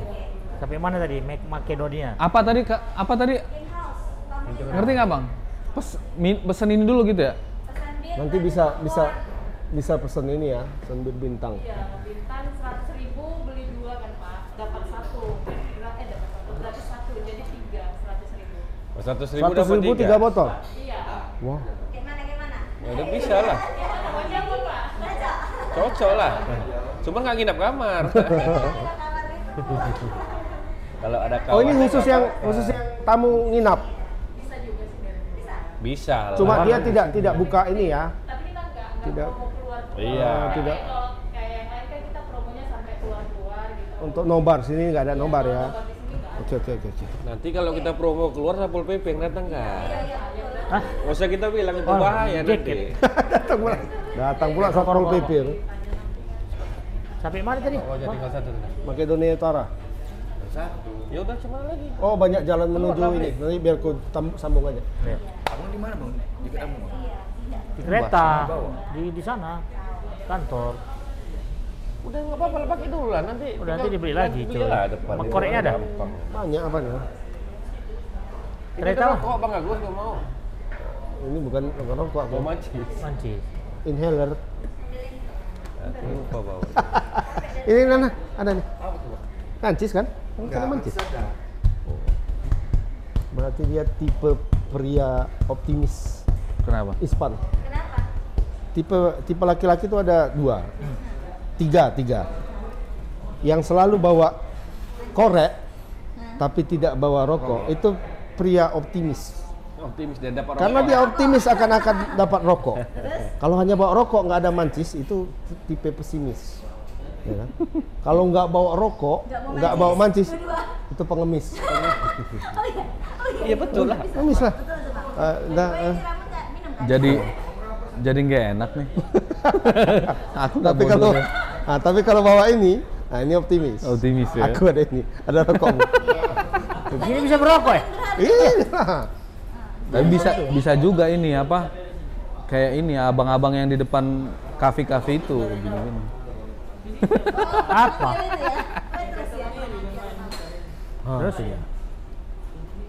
Sampai mana tadi? Mak- Makedonia.
Apa tadi Kak? apa tadi ngerti nggak bang? Pes, min- pesenin dulu gitu ya.
Nanti bisa bisa bisa pesen ini ya, pesen bir bintang.
Iya, bintang 100 ribu beli dua kan Pak, dapat satu. Gra- Eh dapat satu, gratis satu, jadi tiga, 100 ribu.
Seratus ribu
Seratus ribu tiga botol.
Iya,
Wah.
Kayak mana kayak mana?
Ya udah bisa lah,
pokoknya aku Pak.
Baca.
cocok lah. Cuma nggak nginap kamar.
Kita kamar itu.
Kalau ada kawan.
Oh ini khusus yang khusus yang tamu nginap.
Bisa lah.
Cuma dia tidak tidak buka ini ya.
Tapi kita nggak nggak
Tidak.
promo keluar.
Iya.
Eh, tidak
Kayak kalau kayak yang lain kan kita promonya sampai keluar-keluar gitu.
untuk nobar sini nggak ada nobar ya.
Kalau di sini nggak
Oke oke oke. oke.
Nanti kalau kita promo keluar Sapol PP yang datang nggak?
Hah?
Nggak usah kita bilang itu
Oh,
bahaya
dikit.
nanti.
Datang pula. Datang pula satpol pp. itu.
Sampai mana tadi?
Oh jadi tinggal satu.
Makedonia Utara.
Satu. Ya udah cuma lagi.
Oh banyak jalan menuju ini. Nanti biar ku tam- sambung aja.
Iya.
Abang di mana bang? Di kamu.
Di kereta. Di di sana. Kantor.
Udah nggak apa-apa pakai dulu lah nanti.
Udah, nanti
tinggal-
dibeli lagi,
beli
cuy.
lah depan.
Sama koreknya ada?
Gampang.
Banyak apa nih?
Kereta
Kereta
lah.
kok Bang Agus nggak mau.
Ini bukan bukan rokok,
Mau
Bang.
mancis.
Manci.
inhaler.
Aku lupa bawa.
Ini mana? Ada nih. Kancis kan? Ini kan mancis. Oh. Berarti dia tipe pria optimis
Kenapa?
Ispan.
Kenapa?
Tipe tipe laki-laki itu ada dua, tiga tiga. Yang selalu bawa korek tapi tidak bawa rokok itu pria optimis.
Optimis dia dapat
Karena
rokok.
dia optimis akan akan dapat rokok. Kalau hanya bawa rokok nggak ada mancis itu tipe pesimis. Ya kan? Kalau nggak bawa rokok, nggak bawa mancis, itu pengemis.
Oh
Iya betul lah.
Pengemis lah. Eh, dah, eh.
Kamu nggak minum kan?
Jadi jadi nggak enak nih. Aku nggak
tapi
mau
kalau
dulu.
ah, tapi kalau bawa ini, nah ini optimis.
Optimis ya.
Aku ada ini, ada rokokmu.
Begini bisa merokok ya?
Iya.
Ah.
lah.
Tapi bisa bisa juga ini apa? Kayak ini ya, abang-abang yang di depan kafe-kafe itu gini-gini.
Apa?
Gitu Oh, ya. Oh,
Oh.
terus ya.
Terus ya.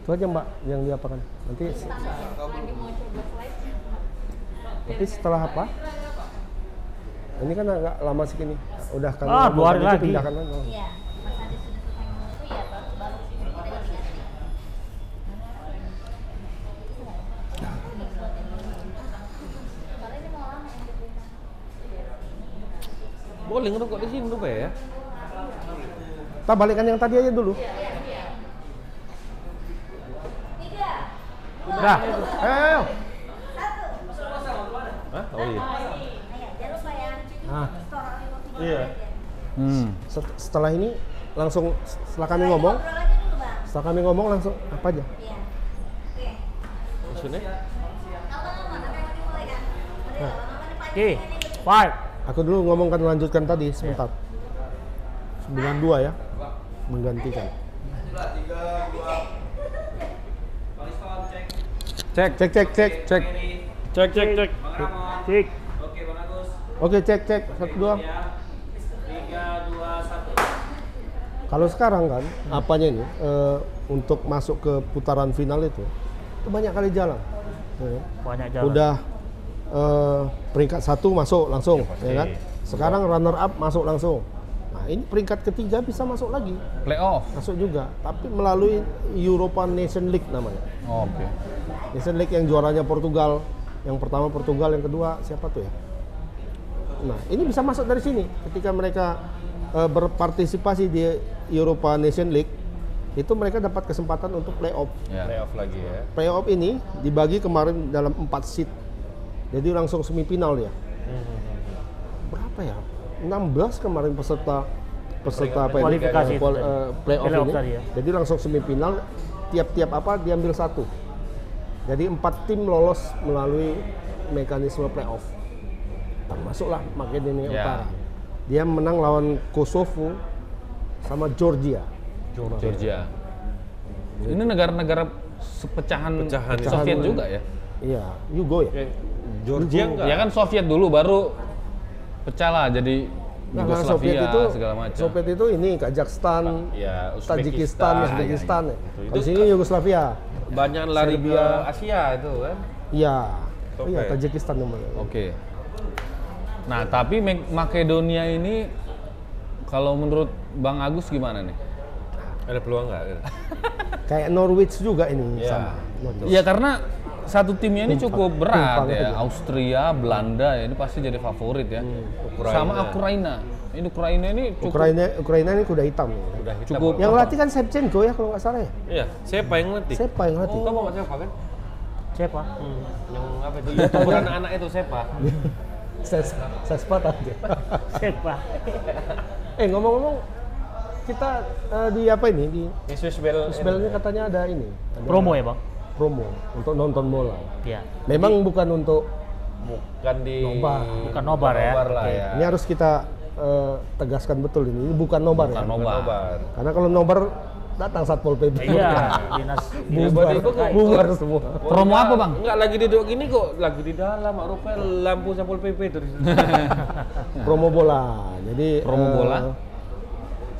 Itu aja Mbak yang diapakan. Nanti se-
ya.
Tapi setelah apa? Ini kan agak lama segini. Udah kan.
Ah, dua hari lagi.
Pindahkan lagi.
Iya. Pas nanti sudah selesai ngomong itu ya baru baru kita ganti-ganti.
Boleh ngerokok di sini tuh ya.
Kita balikan yang tadi aja dulu.
Udah.
Eh.
Hah? Oh iya.
Ayo, jangan lupa ya.
Nah,
Iya.
Hmm.
set- setelah ini langsung setelah kami ngomong,
Ngobrol aja dulu, Bang.
setelah kami ngomong langsung apa aja?
Iya. Oke.
Maksudnya?
Lama-lama, tapi yang penting mulai kan. Udah, lama-lama depan.
Oke. Five.
Aku dulu ngomongkan lanjutkan tadi sebentar. 92 ya. Menggantikan.
Cek
Cek cek cek.
cek.
Cek cek cek. Cek.
Oke, cek cek. Satu dua. Kalau sekarang kan, apanya ini eh, untuk masuk ke putaran final itu, itu banyak kali jalan. Ya.
Banyak jalan.
Udah eh, peringkat satu masuk langsung, ya, kan? Sekarang runner up masuk langsung. Nah ini peringkat ketiga bisa masuk lagi,
Playoff.
masuk juga, tapi melalui Europa Nation League namanya.
Oh, Oke.
Nation League yang juaranya Portugal, yang pertama Portugal, yang kedua siapa tuh ya? Nah, ini bisa masuk dari sini ketika mereka eh, berpartisipasi di Europa Nation League, itu mereka dapat kesempatan untuk playoff.
Ya.
Playoff lagi ya.
Playoff ini dibagi kemarin dalam 4 seat. Jadi langsung semifinal ya. Berapa ya? 16 kemarin peserta peserta apa ini?
Kualifikasi itu
Kual-
tadi.
eh, playoff,
Playoff
ini.
tadi ya.
Jadi langsung semifinal tiap-tiap apa diambil satu. Jadi empat tim lolos melalui mekanisme playoff. Termasuklah Makedonia
Ya.
Utara. Dia menang lawan Kosovo sama Georgia.
Georgia. Ini negara-negara sepecahan
Pecahan.
Soviet
Pecahan.
juga ya. kan
Iya, Yugo ya.
Iya
Georgia enggak?
Ya kan Soviet dulu baru pecah lah jadi
Nah, nah,
Yugoslavia,
Soviet itu
segala macam.
Soviet itu ini Kazakhstan,
Ya, Uzbekistan,
Tajikistan,
ya, ya,
Uzbekistan.
ya. Itu-
Kalau
itu
sini
ke-
Yugoslavia.
Banyak lari
Serbia.
ke Asia itu kan.
Iya.
Oke.
Iya, Tajikistan namanya.
Oke. Nah, tapi Mek- Makedonia ini kalau menurut Bang Agus gimana nih?
Ada peluang nggak?
Kayak Norwich juga ini
Iya.
sama. Norwich.
Ya karena satu timnya
Hmm,
ini cukup berat
Timpang
ya.
aja.
Austria, Belanda ya ini pasti jadi favorit ya.
Ukraina.
Sama Ukraina. Ini Ukraina ini cukup
Hmm, Ukraina Ukraina ini kuda hitam. ya.
Udah hitam.
Cukup.
Yang latih kan Shevchenko ya kalau nggak salah ya.
Iya, siapa yang ngelatih?
Siapa yang latih?
Kamu nggak siapa kan?
Siapa?
Hmm, yang apa itu? Youtuberan anak itu siapa?
Ses Sespat aja.
Siapa?
eh ngomong-ngomong kita eh, di apa ini di
Yesus Bel.
Isbel ini katanya ada ini ada
Promo ya bang?
promo untuk nonton bola.
Iya.
Memang bukan untuk
Bukan di.
Nobar.
Bukan nobar ya.
Nobar lah
Oke.
ya.
ini harus kita eh, tegaskan betul ini, ini bukan nobar ya.
Bukan
Bukan Nobar.
Karena kalau nobar datang satpol pp.
Iya, dinas.
bubar, bubar semua.
Promo apa, Bang?
Enggak lagi duduk gini kok, lagi di dalam. Rupanya lampu sampul PP dari sini.
Promo bola. Jadi
Promo
eh,
bola?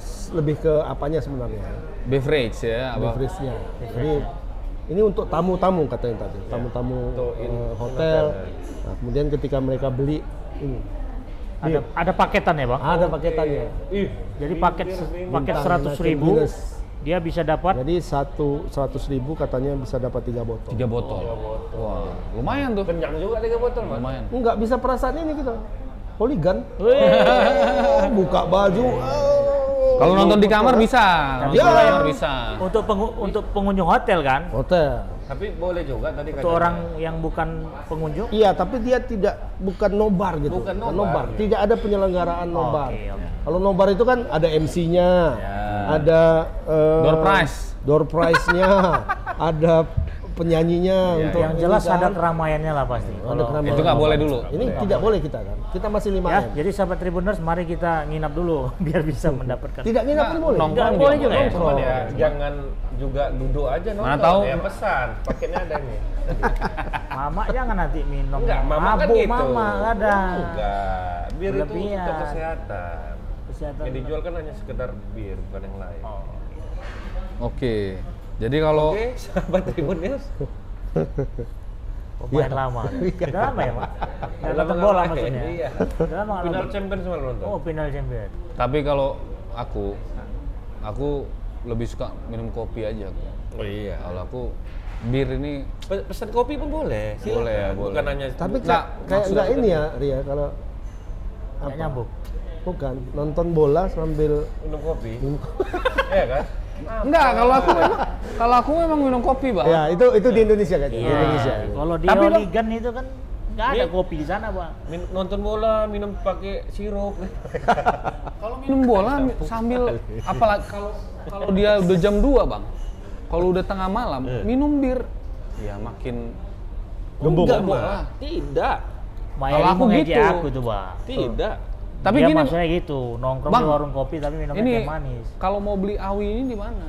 s- lebih ke apanya sebenarnya?
beverage ya, apa?
Beverage-nya. Jadi ini untuk tamu-tamu katanya tadi, tamu-tamu
Untuk in-
eh, hotel. Nah, kemudian ketika mereka beli ini
Ada, ada paketan ya bang?
ada paketannya.
Ih,
Jadi paket paket
Bintang,
seratus
bintang,
ribu,
minus.
dia bisa dapat
Jadi satu seratus ribu katanya bisa dapat tiga botol.
Oh, Tiga botol. Wah, lumayan tuh.
kenyang juga tiga botol, Mas.
Lumayan.
Nggak bisa perasaan ini kita. Hooligan. Buka baju. oh.
Kalau nonton di kamar bisa. Nonton di
Ya.
kamar bisa.
untuk pengu- untuk pengunjung hotel kan?
Iya. Hotel.
Tapi boleh juga tadi
Untuk orang yang bukan pengunjung?
Iya, tapi dia tidak bukan nobar gitu.
Bukan nobar.
Tidak ada penyelenggaraan nobar.
Oke, oke.
Kalau nobar itu kan ada MC-nya, ada eh,
Door prize.
door prize-nya, ada penyanyinya untuk
Ya, Yang jelas
ini kan.
ada keramaiannya lah pasti.
Ada
Kalau-
keramaian.
Itu nggak boleh dulu.
Ini tidak boleh kita kan. Kita masih 5
Ya,
M.
jadi sahabat Tribuners, mari kita nginap dulu biar bisa mendapatkan.
Tidak nginap
Nggak,
pun boleh.
nongkrong
Nggak boleh juga ya?
Cuman ya, jangan juga duduk aja nonton.
Mana tahu-
Ya pesan, paketnya ada nih.
Mama jangan nanti minum.
Enggak, mama kan
Mabuk
gitu.
mama kadang.
Enggak, bir itu untuk
Berlebihan.
kesehatan.
Kesehatan.
Yang dijual kan hanya sekedar bir, bukan yang lain.
Oke. Jadi kalau
Oke, sahabat Tribun News.
Pemain Oh, lama. Udah lama ya, Mak? Udah
Iya.
nonton
Udah lama
bola
nggak main,
maksudnya.
iya.
Udah lama nggak
Final
nonton.
Champions malah nonton.
Oh, final champion.
tapi kalau aku aku lebih suka minum kopi aja aku.
Oh iya.
Kalau aku bir ini
Pe- Pesan kopi pun boleh. silakan.
Boleh ya, boleh.
Bukan hanya
Tapi
Nggak,
kayak kayak
maksud
nggak
aku
ini ya, Ria, kalau
Nggak nyambung.
bukan nonton bola sambil
minum kopi. Iya kan?
enggak kalau aku memang kalau aku memang minum kopi, Bang.
ya itu itu di Indonesia kayaknya. Di
Iya.
Indonesia.
Kalau di
Tapi, Bang-
Oligan itu kan nggak ada
Iya.
kopi di sana, Bang.
Min- nonton bola minum pakai sirup.
Kalau minum bola mi- sambil apalagi kalau kalau dia udah jam 2, Bang. Kalau udah tengah malam minum bir ya makin
Gembung.
Enggak,
Mak.
Bang.
Tidak.
Maya
Kalau
aku
aku
ngejek
gitu.
aku tuh, Bang.
Tidak.
Tapi
Dia
gini,
maksudnya gitu, nongkrong
Bang,
di warung kopi tapi minumnya
ini
teh manis.
kalau mau beli awi ini di mana?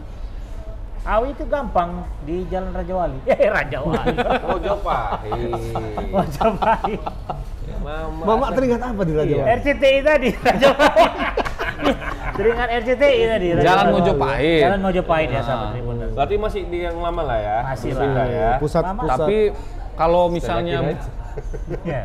Awi itu gampang di Jalan Raja Wali. Eh, Raja Wali.
Mojo pahit.
Mau coba
Mama.
Mama teringat apa di
Iya.
Raja Wali?
RCTI tadi Raja Wali. Teringat RCTI tadi Raja
Jalan
Wali.
Mojopahit.
Jalan Mojopahit ya sahabat
Ah.
Tribuners.
Berarti masih di yang lama lah ya.
Masih
Kita
lah.
ya.
Pusat
Mama.
pusat.
Tapi kalau misalnya
yakin aja.
Ya.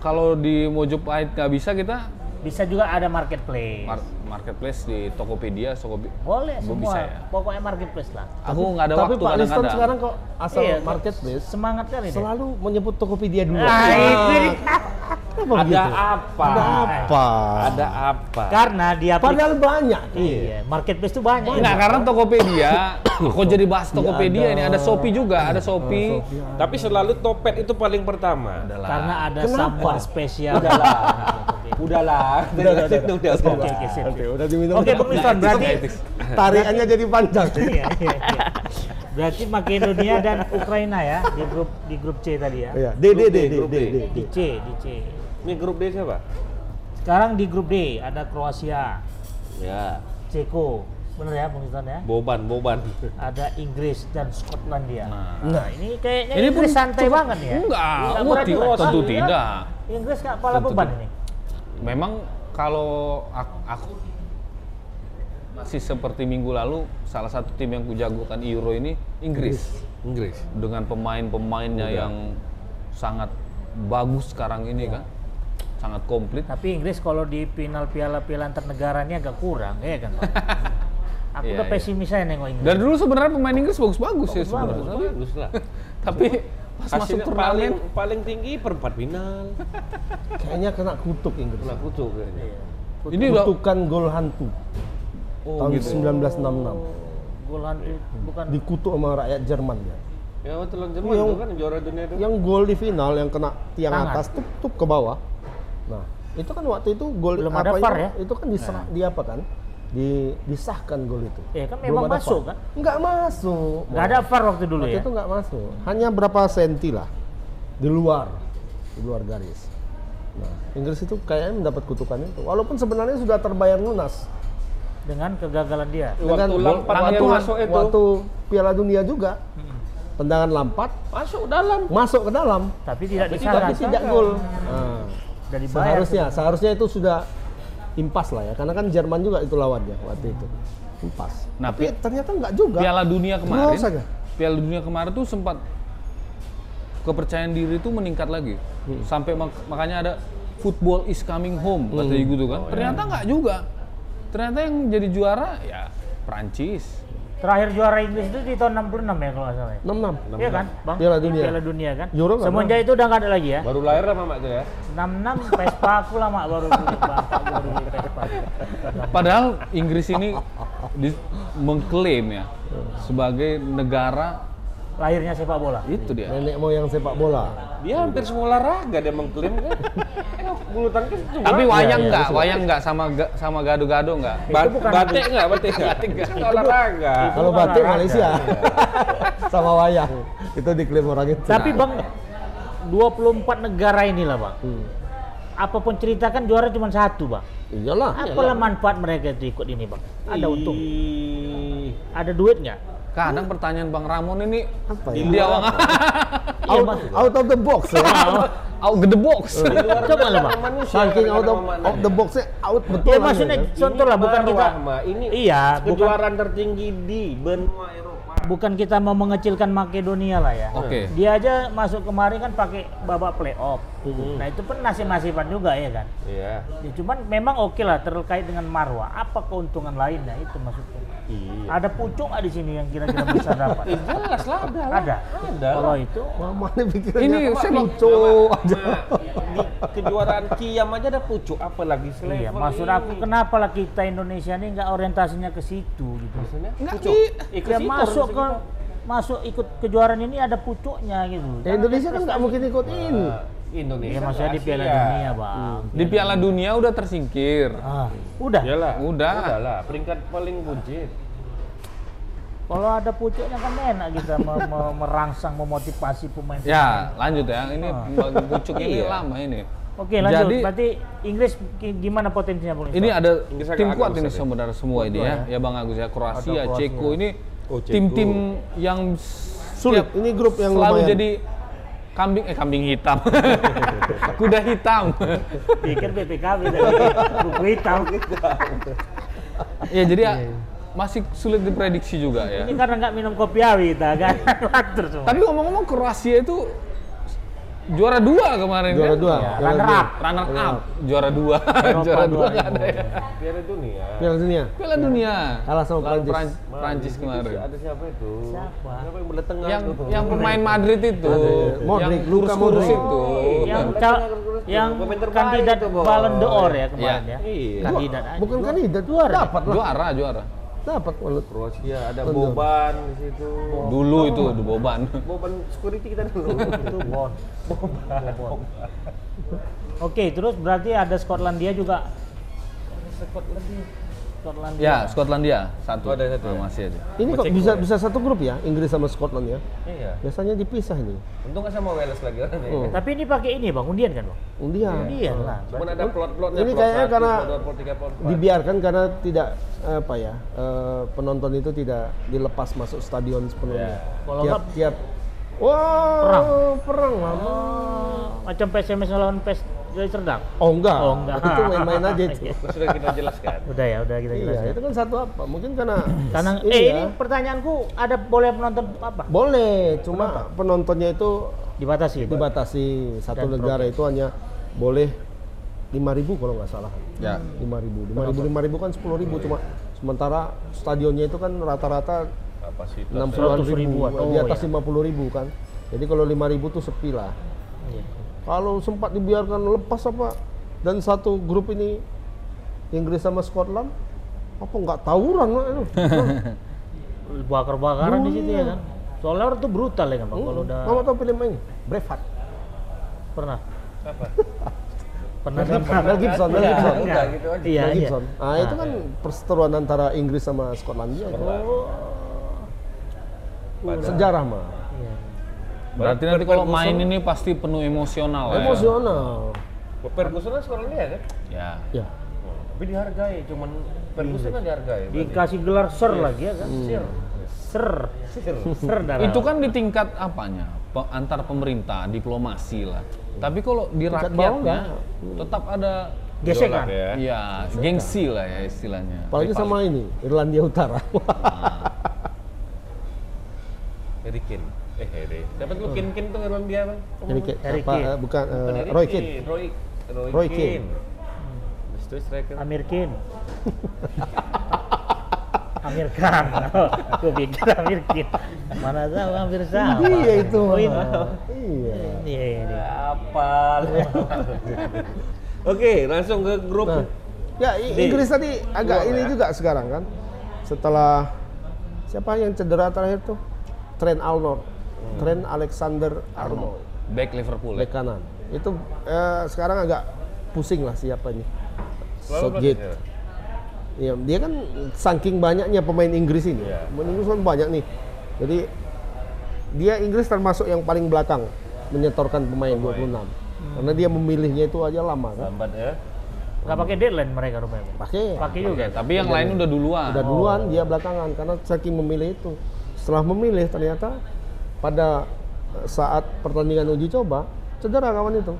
kalau di Mojopahit nggak bisa kita
Bisa juga ada marketplace.
mar- marketplace di Tokopedia, Sokobi.
Boleh
Bisa
semua.
ya?
Pokoknya marketplace lah.
Aku nggak ada
tapi
waktu
Pak Liston
kadang-kadang.
sekarang kok asal
Iya,
marketplace
Semangat kali dia.
selalu menyebut Tokopedia dulu.
Ah, itu dia. iya.
Kenapa
Ada
begitu?
apa?
gitu. Ada apa?
Ada apa?
Karena dia
Padahal banyak.
Iya, marketplace tuh banyak.
Enggak, Nah, karena Tokopedia, kok jadi bahas Tokopedia ini ada Shopee juga, ada Shopee.
Tapi selalu topet itu paling pertama.
Adalah.
Karena ada
Kenapa?
someone spesial.
Udahlah. Udahlah. Udah, udah, udah, udah,
Oke,
udah.
oke, sip.
Oke, udah diminum.
Oke, Bang Liston, berarti
gitu. tarikannya jadi panjang.
Iya, iya, iya. Berarti Makedonia dan Ukraina ya di grup di grup C tadi ya.
Iya, D D D D D D.
Di C, di C.
Ini grup D siapa?
Sekarang di grup D ada Kroasia,
Ya.
Ceko, bener ya Bung Iston ya.
Boban, Boban.
Ada Inggris dan Skotlandia. Nah,
Nah,
ini kayaknya
Ini pun
Inggris santai
cukup-
banget ya.
Enggak,
Nggak
oh,
berat
ti-
juga.
tentu
Iya.
tidak.
Inggris nggak kepala
Tentu
beban
tidak.
ini.
Memang kalau aku, aku masih seperti minggu lalu salah satu tim yang kujagokan Euro ini Inggris
Inggris.
dengan pemain-pemainnya
Muda.
yang sangat bagus sekarang ini
Ya.
kan sangat komplit
Tapi Inggris kalau di final piala-piala antar negaranya agak kurang ya kan Pak. Aku
Iya,
udah
iya.
pesimis aja nengok Inggris.
dan dulu sebenarnya pemain Inggris bagus-bagus ya sebenarnya Tapi-
Bagus lah.
tapi pas masuk
Hasilnya
turnamen
paling paling tinggi perempat final.
Kayaknya kena kutuk Inggris.
Kena kucuk kayaknya.
ini udah
Kutukan gol hantu
Oh,
tahun
gitu.
1966.
Gol
Iya.
hantu eh, bukan
Dikutuk sama rakyat Jerman ya.
Ya waktu lawan Jerman
Iya.
Yang-
itu kan juara dunia itu.
Yang gol di final yang kena tiang
Tangan.
atas tup tup ke bawah. Nah, itu kan waktu itu gol
Belum ada
apanya-
VAR ya?
Itu kan diserah di apa kan? Di disahkan gol itu.
Ya, kan
Belum
memang
ada
masuk,
VAR.
kan?
Nggak masuk.
nggak ada VAR waktu dulu
Waktu
ya.
itu nggak masuk. Hanya berapa senti lah di luar, di luar garis. Nah, Inggris itu kayaknya mendapat kutukan itu. Walaupun sebenarnya sudah terbayar lunas
Dengan kegagalan dia.
Waktu Lampard yang
waktu-
masuk itu.
waktu Piala Dunia juga. Tendangan Lampard
Masuk dalam.
masuk ke dalam,
Tapi tidak
tapi
disangka.
tidak gol. Nah,
Sudah dibayar.
seharusnya seharusnya itu sudah impas lah ya, karena kan Jerman juga itu lawannya waktu itu. Impas.
Nah,
tapi
pi-
ternyata nggak juga.
Piala Dunia kemarin.
Terus aja.
Piala Dunia kemarin tuh sempat kepercayaan diri itu meningkat lagi.
Hmm.
Sampai mak- makanya ada football is coming home kata
Hmm.
gitu
Oh,
kan.
iya.
Ternyata nggak juga. Ternyata yang jadi juara ya Prancis.
Terakhir juara Inggris itu di tahun 66 ya kalau nggak salah. ya.
66.
Iya kan, Bang?
Piala
Di
Dunia.
Piala Dunia kan.
Euro nggak
Semenjak itu udah nggak ada lagi ya.
Baru lahir lah mamak itu ya.
66 Vespa aku lama baru beli Bapak baru beli Vespa.
Padahal Inggris ini di- mengklaim ya
Hmm.
sebagai negara
Lahirnya sepak bola.
itu dia.
Nenek moyang sepak bola.
Dia hampir semua olahraga dia mengklaim kan. Eh, bulu tangkis itu.
Tapi
kan?
Iya,
wayang nggak, wayang nggak sama ga- sama gado-gado nggak.
Ba-
bukan-
batik nggak, batik nggak, batik nggak Kan olahraga.
Kalau
bukan
batik
olahraga.
Malaysia sama wayang itu diklaim orang itu. Nah.
Tapi Bang 24 negara inilah Bang.
Hmm.
Apapun cerita kan juara cuma satu Bang.
iyalah.
Apalah manfaat mereka itu ikut ini Bang? Ada untung,
Ih,
ada duit nggak?
Kadang pertanyaan Bang Ramon ini
Apa ya?
dia awang
Iya
Out,
Bang.
out of the box ya. Oh, iya.
out the box.
Coba lah Bang.
manusia
Saking
kadang-kadang
out of,
mamak
of the boxnya out betul.
Ya
aja,
maksudnya
kan?
contoh lah bukan
baru,
kita
Ahmad. ini
Iya, bukan-
kejuaraan tertinggi di benua Eropa.
bukan kita mau mengecilkan Makedonia lah ya.
Oke.
Dia aja masuk kemarin kan pakai babak playoff.
Mm-hmm.
Nah itu pun nasib-nasiban juga ya kan.
Iya.
Ya, cuman memang oke lah terkait dengan marwah. Apa keuntungan lainnya itu maksudnya?
Iya. Eh,
Ada pucuk nggak di sini yang kira-kira bisa dapat?
Jelas lah ada. lah.
Ada.
Ada.
Kalau itu
Mama nih pikirannya
Ini
apa?
saya mau-
lucu
Di
aja.
kejuaraan Kiam aja ada pucuk apalagi selevel.
Iya, maksud aku kenapa lah kita Indonesia ini nggak orientasinya ke situ gitu.
Maksudnya
Nggak,
pucuk.
Ki.
Eh, ke
Ya,
situ
masuk
harusnya
ke
kita.
masuk ikut kejuaraan ini ada pucuknya gitu.
Ya, Indonesia kan nggak mungkin ikut ini.
Nah, Indonesia.
Iya, maksudnya di
Asia.
Piala Dunia,
Hmm.
Bang.
Di Piala Dunia udah tersingkir.
Ah, udah.
Iyalah.
Udah.
Udah lah, peringkat paling buncit.
Kalau ada pucuknya kan enak kita me- me- merangsang memotivasi pemain.
Ya, lanjut ya. Ini
Ah.
bagi pucuk
Iya.
ini lama ini.
Oke, lanjut.
Jadi-
Berarti Inggris ki- gimana potensinya Bung?
Ini
Isfak?
ada
Inggris agak-
tim
agak
kuat
besar
ini
ya.
sebenarnya semua ini ya. Ya Bang Agus ya, Kroasia, Ceko ini
Oh, Ceko.
tim-tim yang
Sulit.
setiap
Ini grup yang
selalu
lumayan.
jadi kambing eh kambing hitam. Kuda hitam.
pikir BPKB tadi gitu. buku hitam.
ya jadi
Iya,
ya, masih sulit diprediksi juga ya.
Ini karena nggak minum kopi awi kita kan atur semua.
Tapi ngomong-ngomong Kroasia itu juara dua kemarin
Juara
kan?
dua. Iya.
Ya,
Piala
runner
dua.
up.
Runner up, juara dua,
Eropa
juara dua nggak ada
2000.
ya.
Piala Dunia.
Piala Dunia.
Piala dunia.
Kalah sama
Lawan
Prancis.
Pran-
Malah
Prancis
di situ
kemarin.
si- Ada siapa itu?
Siapa?
Siapa yang belah tengah
Yang
itu?
yang pemain Madrid itu,
Modric,
yang
Luka
kurus-kurus
Modric.
itu.
yang
Bukan.
cal- yang
Pemain terbaik
kandidat
itu, Bang.
Ballon d'Or ya kemarin
Iya.
ya.
Iya.
Kandidat aja.
Bukan kan itu
Juara.
dapat lah.
Juara, juara.
Dapat walau-
Kroasia ada
Betul.
Boban di situ.
Dulu itu di Boban.
Boban security kita dulu.
Itu bon. Bon. Oke, terus berarti ada Skotlandia juga. Skotlandia. Skotlandia.
Ya, Skotlandia
Oh,
satu.
ada satu
Nah,
ya?
masih ada.
Ini kok
Ceko
bisa
ya?
bisa satu grup ya, Inggris sama Scotland ya.
Iya.
Biasanya dipisah ini.
Untung nggak sama Wales lagi orang ya. ini.
Oh.
Tapi ini pakai ini Bang, undian kan Bang?
Undian.
Undian Eh, lah.
Cuman ada plot-plotnya.
Ini kayaknya
satu,
karena
dua, plot tiga, plot empat.
Oh. dibiarkan karena tidak apa ya eh, penonton itu tidak dilepas masuk stadion sepenuhnya.
Iya. Kalau
tiap
nggak-
tiap wah
Perang.
perang lama.
Oh.
Macam PSMS lawan PS dari Cerdak?
Oh enggak,
Oh, enggak. Iya,
itu main-main aja itu.
Sudah kita jelaskan.
Udah ya, udah kita
iya,
jelasin.
itu kan satu apa? Mungkin karena
Karena
ini
eh
ya.
ini pertanyaanku ada boleh penonton apa?
boleh, cuma penontonnya itu
Dibatasi.
dibatasi satu
Dan
negara itu hanya boleh 5.000 kalau nggak salah.
Ya.
5.000. 5.000 5.000 kan 10.000 cuma sementara stadionnya itu kan rata-rata
Kapasitas.
60
100
ribu,
ribuan.
di
Oh,
atas
iya.
50 ribu kan. Jadi kalau 5 ribu tuh sepi lah.
Iya.
Kalau sempat dibiarkan lepas apa dan satu grup ini Inggris sama Scotland apa nggak tawuran lah itu.
Bakar-bakaran di situ ya kan. Soalnya orang tuh brutal ya kan Pak kalau udah
Kamu tahu film ini? Braveheart.
pernah.
Apa?
Pernah
Gibson, Mel Gibson, Mel Gibson.
Udah gitu aja.
Iya,
Mel
iya.
Gibson. Ah, itu kan perseteruan antara Inggris sama ya. Skotlandia itu. Sejarah mah.
Iya.
Berarti nanti kalau main ini pasti penuh emosional ya.
Emosional.
Ferguson kan sekarang dia kan?
Ya.
Ya.
Tapi dihargai, cuman Ferguson kan dihargai.
Dikasih gelar ser lagi ya kan.
Sir.
Ser.
Sir.
Ser darah.
Itu kan di tingkat apanya? Pe- antar pemerintah, diplomasi lah. Tapi kalau di
Tingkat
rakyatnya
bawah
tetap ada
gesekan.
Jolak ya.
ya gengsi lah ya istilahnya. Nah,
Apalagi sama ini, Irlandia Utara.
Harry Kane. Eh, Harry. Dapat lu Kin Kin tuh Irlandia dia bang.
Jadi kayak
Harry
apa,
Kane.
eh, bukan eh,
Bukan Harry
Roy Keane.
Roy Roy,
Roy
Keane. Hmm.
Keane.
Habis itu striker.
Amir Khan. Amir Khan. Gue pikir Amir Khan. Mana tahu Amir sama.
Iya itu.
Oh, iya.
Mas. Iya.
Iya, iya, iya.
Apa? lu? Oke, langsung ke grup.
Nah, ya I-
Di-
Inggris tadi agak
Dua,
ini
ya.
juga sekarang kan. Setelah siapa yang cedera terakhir tuh? Trent Alnor. Trent Alexander Arnold.
back Liverpool. ya.
Bek kanan. Itu eh, sekarang agak pusing lah siapa ini.
Lalu
Southgate.
berarti-
Iya, dia kan saking banyaknya pemain Inggris ini.
Iya.
Pemain Inggris kan banyak nih. Jadi dia Inggris termasuk yang paling belakang menyetorkan pemain 26. Karena dia memilihnya itu aja lama kan.
Lambat ya.
Gak pakai deadline mereka rupanya. Pak.
Pakai
Pakai
Oke,
juga. ya?
tapi yang lain Iya, udah duluan.
udah duluan dia belakangan karena saking memilih itu. Setelah memilih ternyata pada eh, saat pertandingan uji coba cedera kawan itu.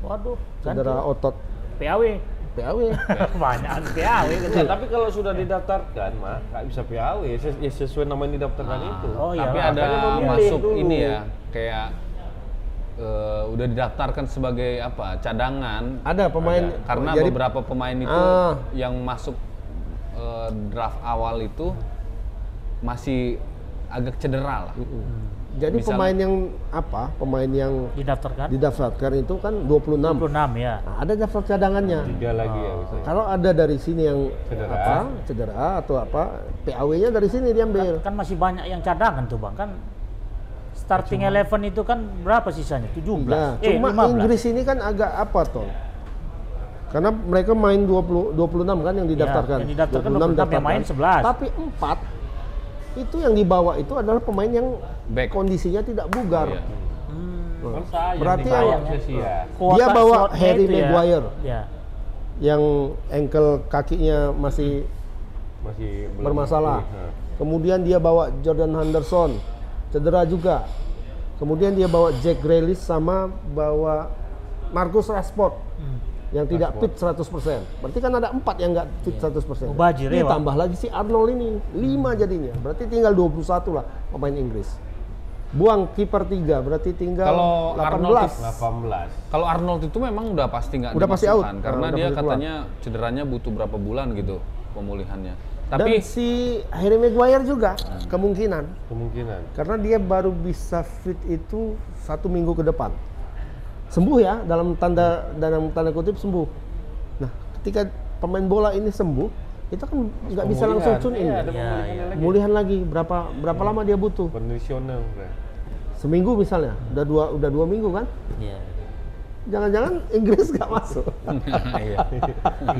Waduh,
Cedera otot
PAW.
PAW.
Banyak PAW.
Nah, tapi kalau sudah
Iya.
didaftarkan, Mak, nggak bisa PAW ya, ses- ya sesuai nama yang didaftarkan itu.
Ah.
Oh iya.
tapi
lah.
ada
Makanya memilih
masuk
dulu.
ini ya kayak eh, udah didaftarkan sebagai apa cadangan Ya,
Ada pemain
karena
jadi-
beberapa pemain itu
Ah.
yang masuk eh, draft awal itu masih agak cedera lah
Jadi
Misal-
pemain yang apa? Pemain yang
didaftarkan.
didaftarkan itu kan 26.
26 ya.
Nah, ada daftar cadangannya.
Tiga lagi ya bisa.
Kalau ada dari sini yang
Cedera.
apa cedera atau apa PAW-nya dari sini diambil.
Kan masih banyak yang cadangan tuh Bang. Kan starting eleven itu kan berapa sisanya? 17.
Nah,
eh,
cuma
15.
Inggris ini kan agak apa toh? Karena mereka main 20 26 kan yang didaftarkan.
Iya, yang didaftarkan 26, yang main 11.
Tapi 4 itu yang dibawa itu adalah pemain yang
Back.
kondisinya tidak bugar.
Iya.
Kan sayang Iya,
Berarti ya?
dibawa
yang-
ke Sia.
Kuota
Dia bawa
slotnya
Harry
itu ya.
Maguire.
Ya.
Yang engkel kakinya masih
Masih belum
bermasalah.
Iya.
Nah.
Kemudian dia bawa Jordan Henderson, cedera juga. Kemudian dia bawa Jack Grealish sama bawa Marcus Rashford
Hmm.
yang tidak fit 100%. Berarti kan ada empat yang nggak
Iya.
fit 100%.
Mubazir ya, Pak.
Ditambah lagi si Arnold ini,
Hmm.
5 jadinya. Berarti tinggal 21 lah pemain Inggris. Buang kiper 3, berarti tinggal
Kalau
18.
Arnold itu
18.
kalau Arnold itu memang udah pasti nggak
Udah pasti out.
dimasukkan,
Nah,
karena
udah
dia
pasti keluar.
katanya cederanya butuh berapa bulan gitu pemulihannya
Dan
tapi Hmm.
si Harry Maguire juga kemungkinan
Kemungkinan.
karena dia baru bisa fit itu satu minggu ke depan sembuh ya dalam tanda dalam tanda kutip sembuh nah ketika pemain bola ini sembuh itu kan nggak bisa
Pemulihan.
langsung tune in
Iya, ada
Iya,
pemulihannya
iya.
lagi.
pemulihan lagi berapa berapa lama dia butuh
Kondisional. Bro.
seminggu misalnya udah dua udah dua minggu kan
Iya.
jangan-jangan Inggris nggak masuk
iya.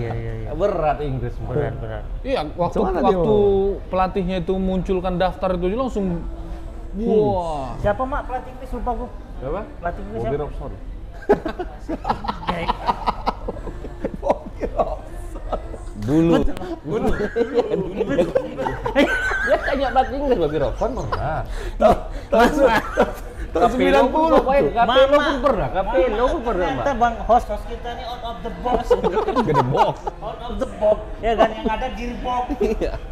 Iya, iya, iya.
Berat Inggris Bro.
Berat, berat.
Iya, waktu
Soalnya dia
waktu
mau-
pelatihnya itu munculkan daftar itu aja langsung wah.
Siapa Mak pelatih Inggris lupa gua.
Apa?
Pelatih Inggris
Bobby
siapa?
Robson.
Dulu
Dulu. Iya. Dia kayak pelatih Inggris Bobby Robson pernah.
Langsung
Tahun 90. Pokoknya Kapelo pun pernah,
Eh,
Kapelo pun pernah, Mbak.
Ternyata bang host host kita nih out of the box,
Gede box.
out of the box. Ya kan yang ada gearbox,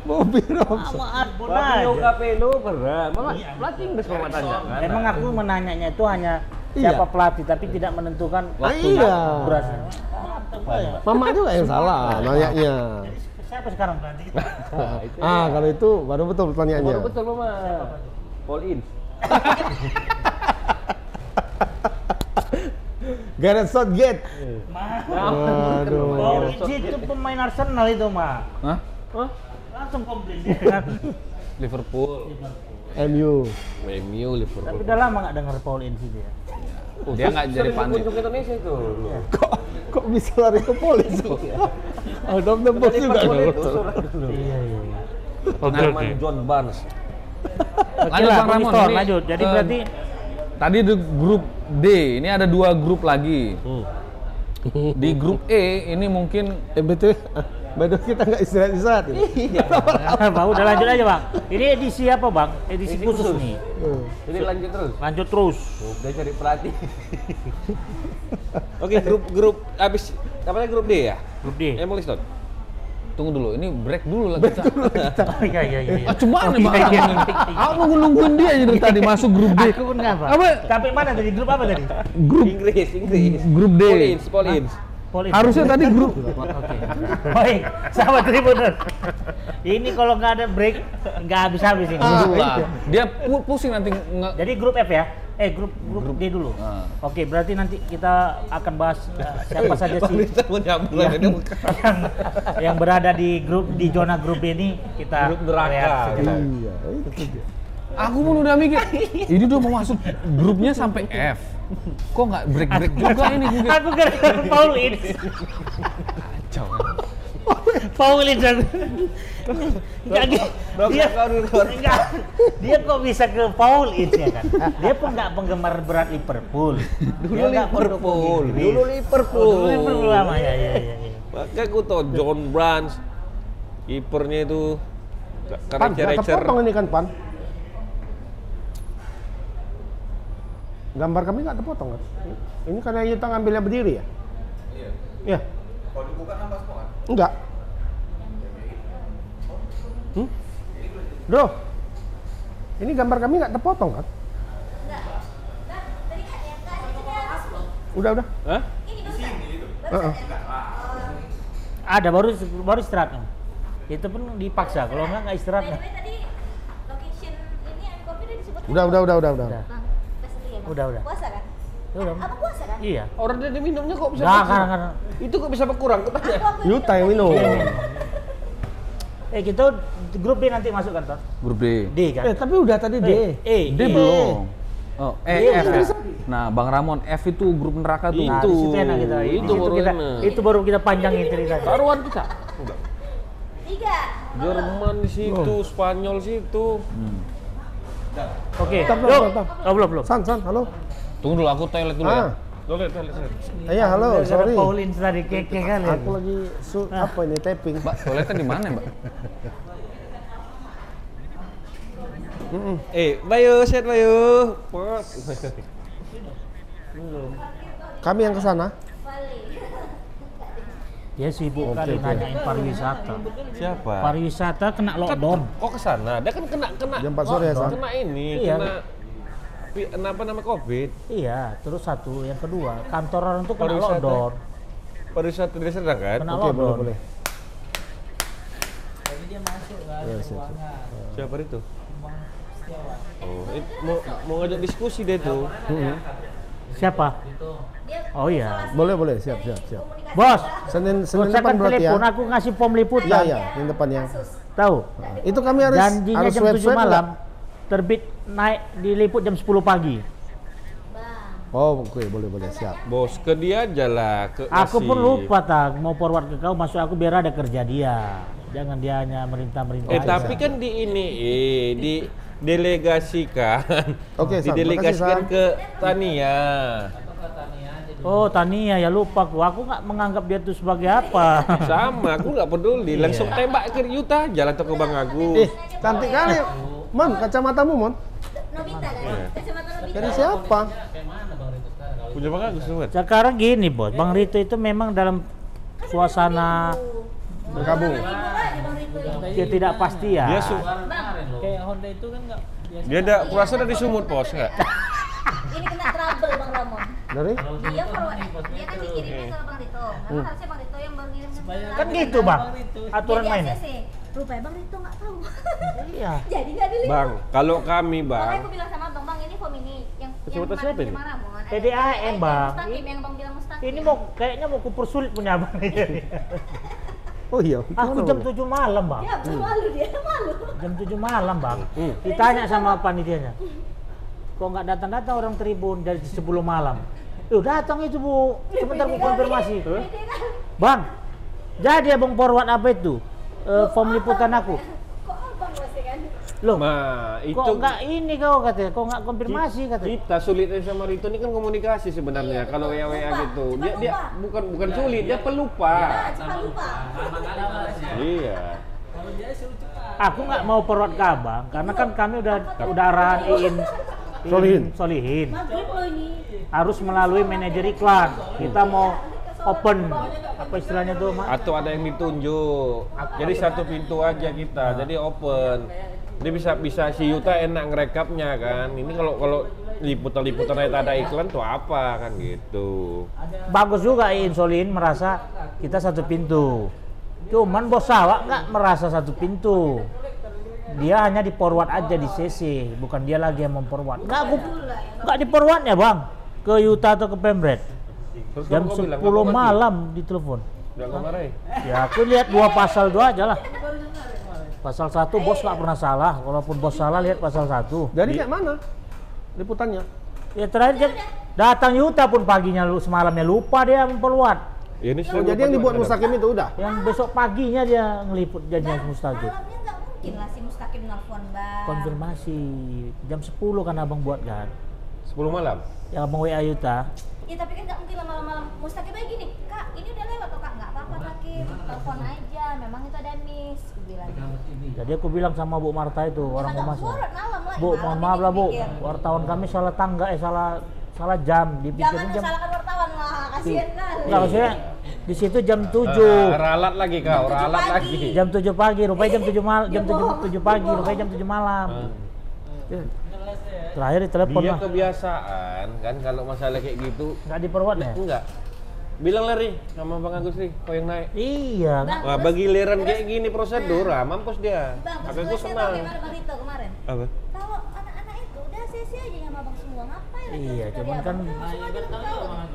Bobby Robson.
sama Arbon
Kapelo,
aja.
Kapelo pernah. Mama, pelatih Inggris Mama tanya kan.
Emang aku menanyanya itu hanya
Iya.
siapa pelatih tapi tidak menentukan
Nah,
waktunya.
iya.
Durasinya. Mantap, ya.
Mama juga yang
Nah,
salah nanyanya.
Siapa sekarang pelatih?
Ah, kalau itu baru betul pertanyaannya.
ya. Baru betul, Mama. All in.
Gareth Southgate.
Iya.
Oh,
Aduh.
itu pemain Arsenal itu mah.
Hah?
Langsung komplain ya kan.
Liverpool.
MU.
MU,
Tapi
Liverpool.
udah lama nggak denger Paul ya? Ince dia.
Dia nggak jadi pandit.
Untuk Indonesia itu. dulu.
Kok kok bisa lari ke polis? Out of the box juga.
Liverpool itu, surat dulu.
Iya iya. iya.
Norman John Barnes.
Oke
Lanjut,
lah,
Bang Ramon,
Ramon,
ini,
lanjut. Jadi
eh,
berarti
Tadi di grup D, ini ada dua grup lagi.
Hmm.
Di grup E ini mungkin
Eh betul. Betul kita nggak istirahat-istirahat. ini.
Bang, udah lanjut aja bang. Ini edisi apa bang? Edisi
Edisi
khusus
khusus.
nih.
Hmm.
Jadi lanjut terus.
Lanjut terus.
Udah cari pelatih. Oke, grup grup habis apa namanya grup D ya?
Grup D.
Emily Stone.
tunggu dulu, ini break dulu lah kita.
Oh, iya iya iya. iya.
Ah, cuma nih
iya, iya, iya.
Aku nunggu nungguin dia aja dari tadi masuk grup D.
Aku pun nggak bang.
Apa?
Sampai mana tadi grup apa tadi?
Grup
Inggris, Inggris.
Hmm,
grup D.
Polins, Polins.
Paul Ince.
Harusnya tadi grup.
Oke. Baik, sahabat Tribuners. Ini kalau nggak ada break nggak habis-habis ini.
Dulu Ah, lah. Dia pu- pusing nanti nge
Jadi grup F ya? Eh grup grup, D dulu.
Ah.
Oke, berarti nanti kita akan bahas eh, siapa saja sih
mau nyambung lagi dia bukan.
yang, yang berada di grup di zona grup B ini kita
Grup neraka.
lihat sejenak.
Iya, itu dia.
Aku pun udah mikir, ini udah mau masuk grupnya sampai F. Kok nggak break-break juga ini mungkin?
Aku gara-gara Paul Ince. Paul Ince. dan- Nggak, dia- dia, nggak, dia kok bisa ke Paul Ince ya kan? Dia pun nggak penggemar berat Liverpool.
Dulu
Dia nggak
Liverpool,
pendukung Inggris.
dulu Liverpool.
Oh, dulu Liverpool lama ya, ya, ya. ya.
Makanya aku tau John Barnes, kipernya itu
Pan,
karena
nggak
Recer.
terpotong ini kan Pan. Gambar kami nggak terpotong kan? Ini karena Yuta ngambilnya berdiri ya? Iya. Iya. Kalau dibuka nampak semua kan? Enggak. Hmm? Bro, ini gambar kami nggak terpotong kan?
kan
Udah udah.
Hah?
Heeh.
ya? Oh.
Ada baru baru istirahat. Itu pun dipaksa. Kalau nggak nggak istirahat. nggak.
Udah udah udah udah udah.
Udah.
Bang, pasti ya, Bang.
Udah, udah.
Puasa kan?
Ya udah.
Apa puasa kan?
Iya.
Orang dia minumnya kok bisa
Nggak,
berkurang?
nggak, nggak.
Itu kok bisa berkurang? Aku tanya.
Aku- aku
Yuta yang minum.
Eh kita grup B nanti masuk kan Ton?
Grup D.
D kan?
Eh tapi udah tadi deh.
Eh,
D
eh.
belum. Oh, E,
Iya,
F.
iya.
ya? Nah, Bang Ramon, F itu grup neraka tuh.
Nah,
Itu.
di situ enak kita. Di
Itu
situ
baru
kita,
enak.
itu baru kita panjangin ceritanya.
Taruhan kita.
Tiga.
Jerman di situ,
Oh.
Spanyol situ.
Oke.
Bentar, bentar,
Yuk.
bentar.
Oh, belum, belum.
San san halo.
Tunggu dulu, aku toilet dulu
Ah.
ya.
Iya, halo,
Gara-gara
sorry.
Paulin Ah. tadi keke kali. ya.
Aku lagi su apa ini taping.
Mbak, toiletnya di mana, Mbak?
Eh, Bayu, set Bayu. Pos.
Kami yang ke sana.
Dia sibuk kali nanyain pariwisata.
Nah.
Siapa?
Pariwisata kena
Kan,
lockdown.
kok ke sana? Dia kan kena kena
Jam 4
Oh,
sore ya, San.
kena ini,
Iya.
kena pi- kenapa nama Covid?
Iya, terus satu, yang kedua, kantor orang tuh kena
Pariwisata.
lockdown.
Pariwisata di Serang kan?
Kena
Oke, boleh
lockdown.
boleh. Iya,
Siapa itu? Oh, it- mau, mau ngajak diskusi deh tuh.
Siapa? Oh iya.
Boleh boleh, siap siap siap.
Bos,
Senin
bos
Senin
saya
depan
kan
berarti ya.
telepon aku ngasih pom
Iya
liputan.
iya, Senin depan ya.
Tahu?
Itu kami harus
Janjinya
harus
jam
web
7 malam, terbit naik diliput jam 10 pagi.
Bang.
Oh, oke boleh boleh siap.
Bos ke dia aja lah. Ke
Aku
ngasih.
pun lupa tak mau forward ke kau masuk aku biar ada kerja dia. Jangan dia hanya merintah-merintah.
Eh
aja.
tapi kan di ini eh, di delegasikan.
Oke, San.
didelegasikan
Makasih, San.
ke Tania.
Oh Tania ya lupa aku. Aku nggak menganggap dia itu sebagai apa.
Sama, aku nggak peduli.
Iya.
Langsung tembak ke Yuta, jalan tuh ke Bang Agus.
Eh, cantik kali. Mon, kacamatamu, Mon. Iya.
Nobita kan? Kacamata Nobita.
Dari siapa?
Punya Bang Agus tuh kan?
Sekarang gini bos, Bang Rito itu memang dalam suasana
Bergabung.
ketidakpastian.
Dia su-
Kayak Honda itu kan nggak biasa.
dia ada kurasa dari sumut pos nggak?
Ini kena trouble Bang Ramon.
Dari?
Dia forward, dia kan
Hmm.
dikirimnya sama Bang Rito. Karena harusnya Bang Iya, Rito yang baru ngirim ke
Supaya-
Kan gitu bang, aturan
Jadi
mainnya.
ACC. Rupanya Bang Rito nggak tahu.
Iya.
Jadi nggak dilihat.
Bang, kalau kami
Makanya aku
bang,
bilang sama Bang, Bang ini form ini yang
Kecamatan siapa ini?
Ramon. Ada
TDAM,
yang
Bang.
Mustaqim yang Bang bilang mustaqim.
Ini mau kayaknya mau kupersulit punya abang ini.
Oh iya.
Aku jam 7 malam bang,
Ya,
Hmm.
Bang, malu dia, malu.
jam 7 malam bang. Ditanya sama panitianya, kok nggak datang-datang orang Tribun dari sebelum malam? Loh datang itu bu, sebentar mau konfirmasi.
Dia kan,
Bang, jadi abang forward apa itu? Eh, form liputan aku.
kok abang masih kan?
Loh,
nah itu
kok nggak ini kau katanya, kok nggak konfirmasi katanya.
kita sulitnya sama Rito ini kan komunikasi sebenarnya kalau WA WA
Lupa.
gitu.
Cuma
Dia dia
lupa.
bukan bukan sulit, dia pelupa.
Ah, cuma lupa.
Iya.
Kalau dia suruh cepat.
Aku nggak mau forward ke abang, karena kan kami udah udah ratiin
Solihin.
solihin.
Maghrib loh ini.
harus melalui manajer iklan. Kita mau open apa istilahnya tuh, Mak?
Atau ada yang ditunjuk. Jadi satu pintu aja kita. Jadi open. Dia bisa bisa si Yuta enak ngerekapnya kan. Ini kalau kalau liputan-liputan aja tak ada iklan tuh apa kan gitu.
Bagus juga Iin Solin merasa kita satu pintu. Cuman bos Sawak nggak merasa satu pintu. Dia hanya di forward aja di CC, bukan dia lagi yang memforward. Nggak aku nggak di forward ya bang ke Yuta atau ke Pemret
Terus
jam
kamu kok
10
bilang, "Kamu mati?"
malam ditelepon.
Nggak kamu marahin?
Ya aku lihat dua pasal dua aja lah. Pasal satu bos nggak pernah salah, walaupun bos salah lihat pasal satu.
Dari kayak mana? Liputannya.
Ya terakhir datang Yuta pun paginya lu semalamnya lupa dia memperluat.
Ya, ini sudah
Oh, jadi yang
lupa
dibuat
juga, kadang.
Mustaqim itu udah.
Yang besok paginya dia ngeliput janjian
Bang,
Mustajib.
Malamnya nggak mungkin lah si Mustaqim nelfon, Bang.
Konfirmasi jam 10 kan abang buat kan.
10 malam.
Yang abang WA Yuta.
Ya tapi kan nggak mungkin lah malam-malam. Mustaqim kayak gini, Kak, ini udah lewat kok Kak, nggak apa-apa Takim. Telepon aja, memang itu ada miss. Aku bilang.
Jadi aku bilang sama Bu Marta itu orang
Nggak
Komnas.
forward malam lah.
Bu,
Malam
mohon
ini
maaf lah Bu.
dipikir.
Wartawan kami salah tangga eh salah salah jam
Jangan
dipikirnya jam
menyalahkan wartawan lah, kasihan kali.
Enggak maksudnya di situ jam
Ah,
7.
ralat lagi kau, ralat
pagi.
lagi.
Jam 7 pagi, rupanya jam 7 malam, jam
Dia bohong.
7, pagi,
Dia bohong.
rupanya jam 7 malam. Ya.
Ah.
Terakhir ditelepon
Dia
lah.
kebiasaan kan kalau masalah kayak gitu
Enggak diperwat ya?
enggak. Bilang Leri sama Bang Agus nih, kau yang naik.
Iya,
Bang,
Wah,
terus-
bagi liran
terus-
kayak gini prosedur, ah, mampus dia.
Bang,
Aku
terus gue
gue
sih tau
senang.
gimana Bang Rito kemarin.
Apa?
Kalau anak-anak itu udah sesi aja sama abang semua ngapain?
Iya,
aja dari
cuman
abang?
kan-
Udah, langsung aja ke abang.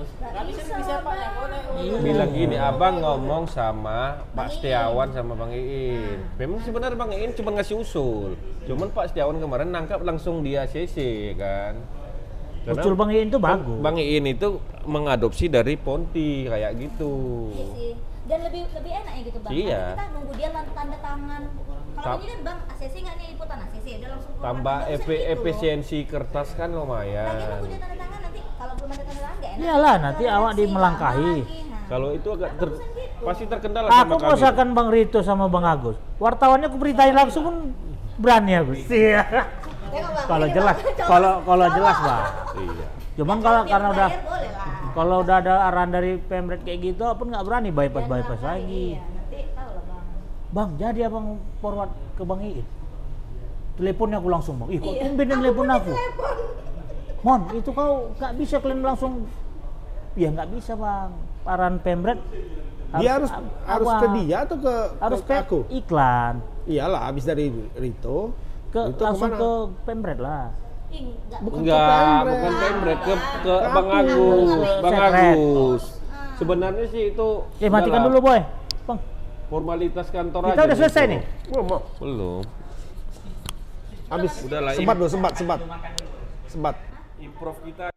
Nggak bisa, Bang.
Bilang gini, abang ngomong sama Pak Setiawan sama Bang Iin. Memang sebenarnya Bang Iin cuma ngasih usul. Cuman Pak Setiawan kemarin nangkap langsung dia CC kan. Karena
Ucul Bang Iin itu bagus.
Bang Iin itu mengadopsi dari Ponti kayak gitu.
Iya sih. Dan lebih lebih enak ya gitu bang.
Iya.
Nanti kita nunggu dia lan- tanda tangan. Kalau
Tam-
ini kan bang ACC nggak nih liputan ACC udah langsung keluar.
Tambah
Nggak
Iya,
EP,
bisa gitu loh.
efisiensi kertas kan
Lagi
lumayan.
nunggu dia tanda tangan nanti kalau belum ada tanda tangan nggak enak.
Iyalah, nanti
Kita
awak
reaksi,
dimelangkahi.
lama lagi, nah.
Kalau itu agak ter- pasti terkendala
Aku
sama kami. Iya.
merasakan Bang Rito sama Bang Agus. Wartawannya aku beritain langsung pun berani aku. Iya.
Tengok, Bang.
Kalau
Ini,
jelas,
Bang. Cowok-
kalau kalau
cowok.
jelas Bang.
Iya.
Cuman kalau
Cowok
karena
yang
udah
bayar boleh lah.
kalau udah ada arahan dari pemret kayak gitu, aku nggak berani bypass
Dan
bypass
lama
lagi.
Iya, nanti tahu lah bang.
Bang, jadi abang forward ke Bang Iin. Teleponnya aku langsung bang. Ih, kok tumben yang telepon aku? Mon, itu kau nggak bisa kalian langsung. Ya nggak bisa bang. Arahan pemret.
Dia harus harus ke
awal.
dia atau ke,
harus
ke
ke
aku?
iklan
Iyalah, habis dari Rito,
ke
Rito
langsung
kemana?
ke pemret lah Eh,
Ih, nggak
Enggak,
Pemret.
bukan Pemret ke, ke
Ke
Bang
aku.
Agus, Bang
Sekret.
Ah.
Agus. Sebenarnya sih itu
eh matikan
udahlah,
dulu boy bang
formalitas kantor
kita
aja.
udah selesai
gitu.
nih
Oh, mau.
Belum.
Habis.
Udahlah,
Sebat loh, sebat, sebat. Sebat.
Improv kita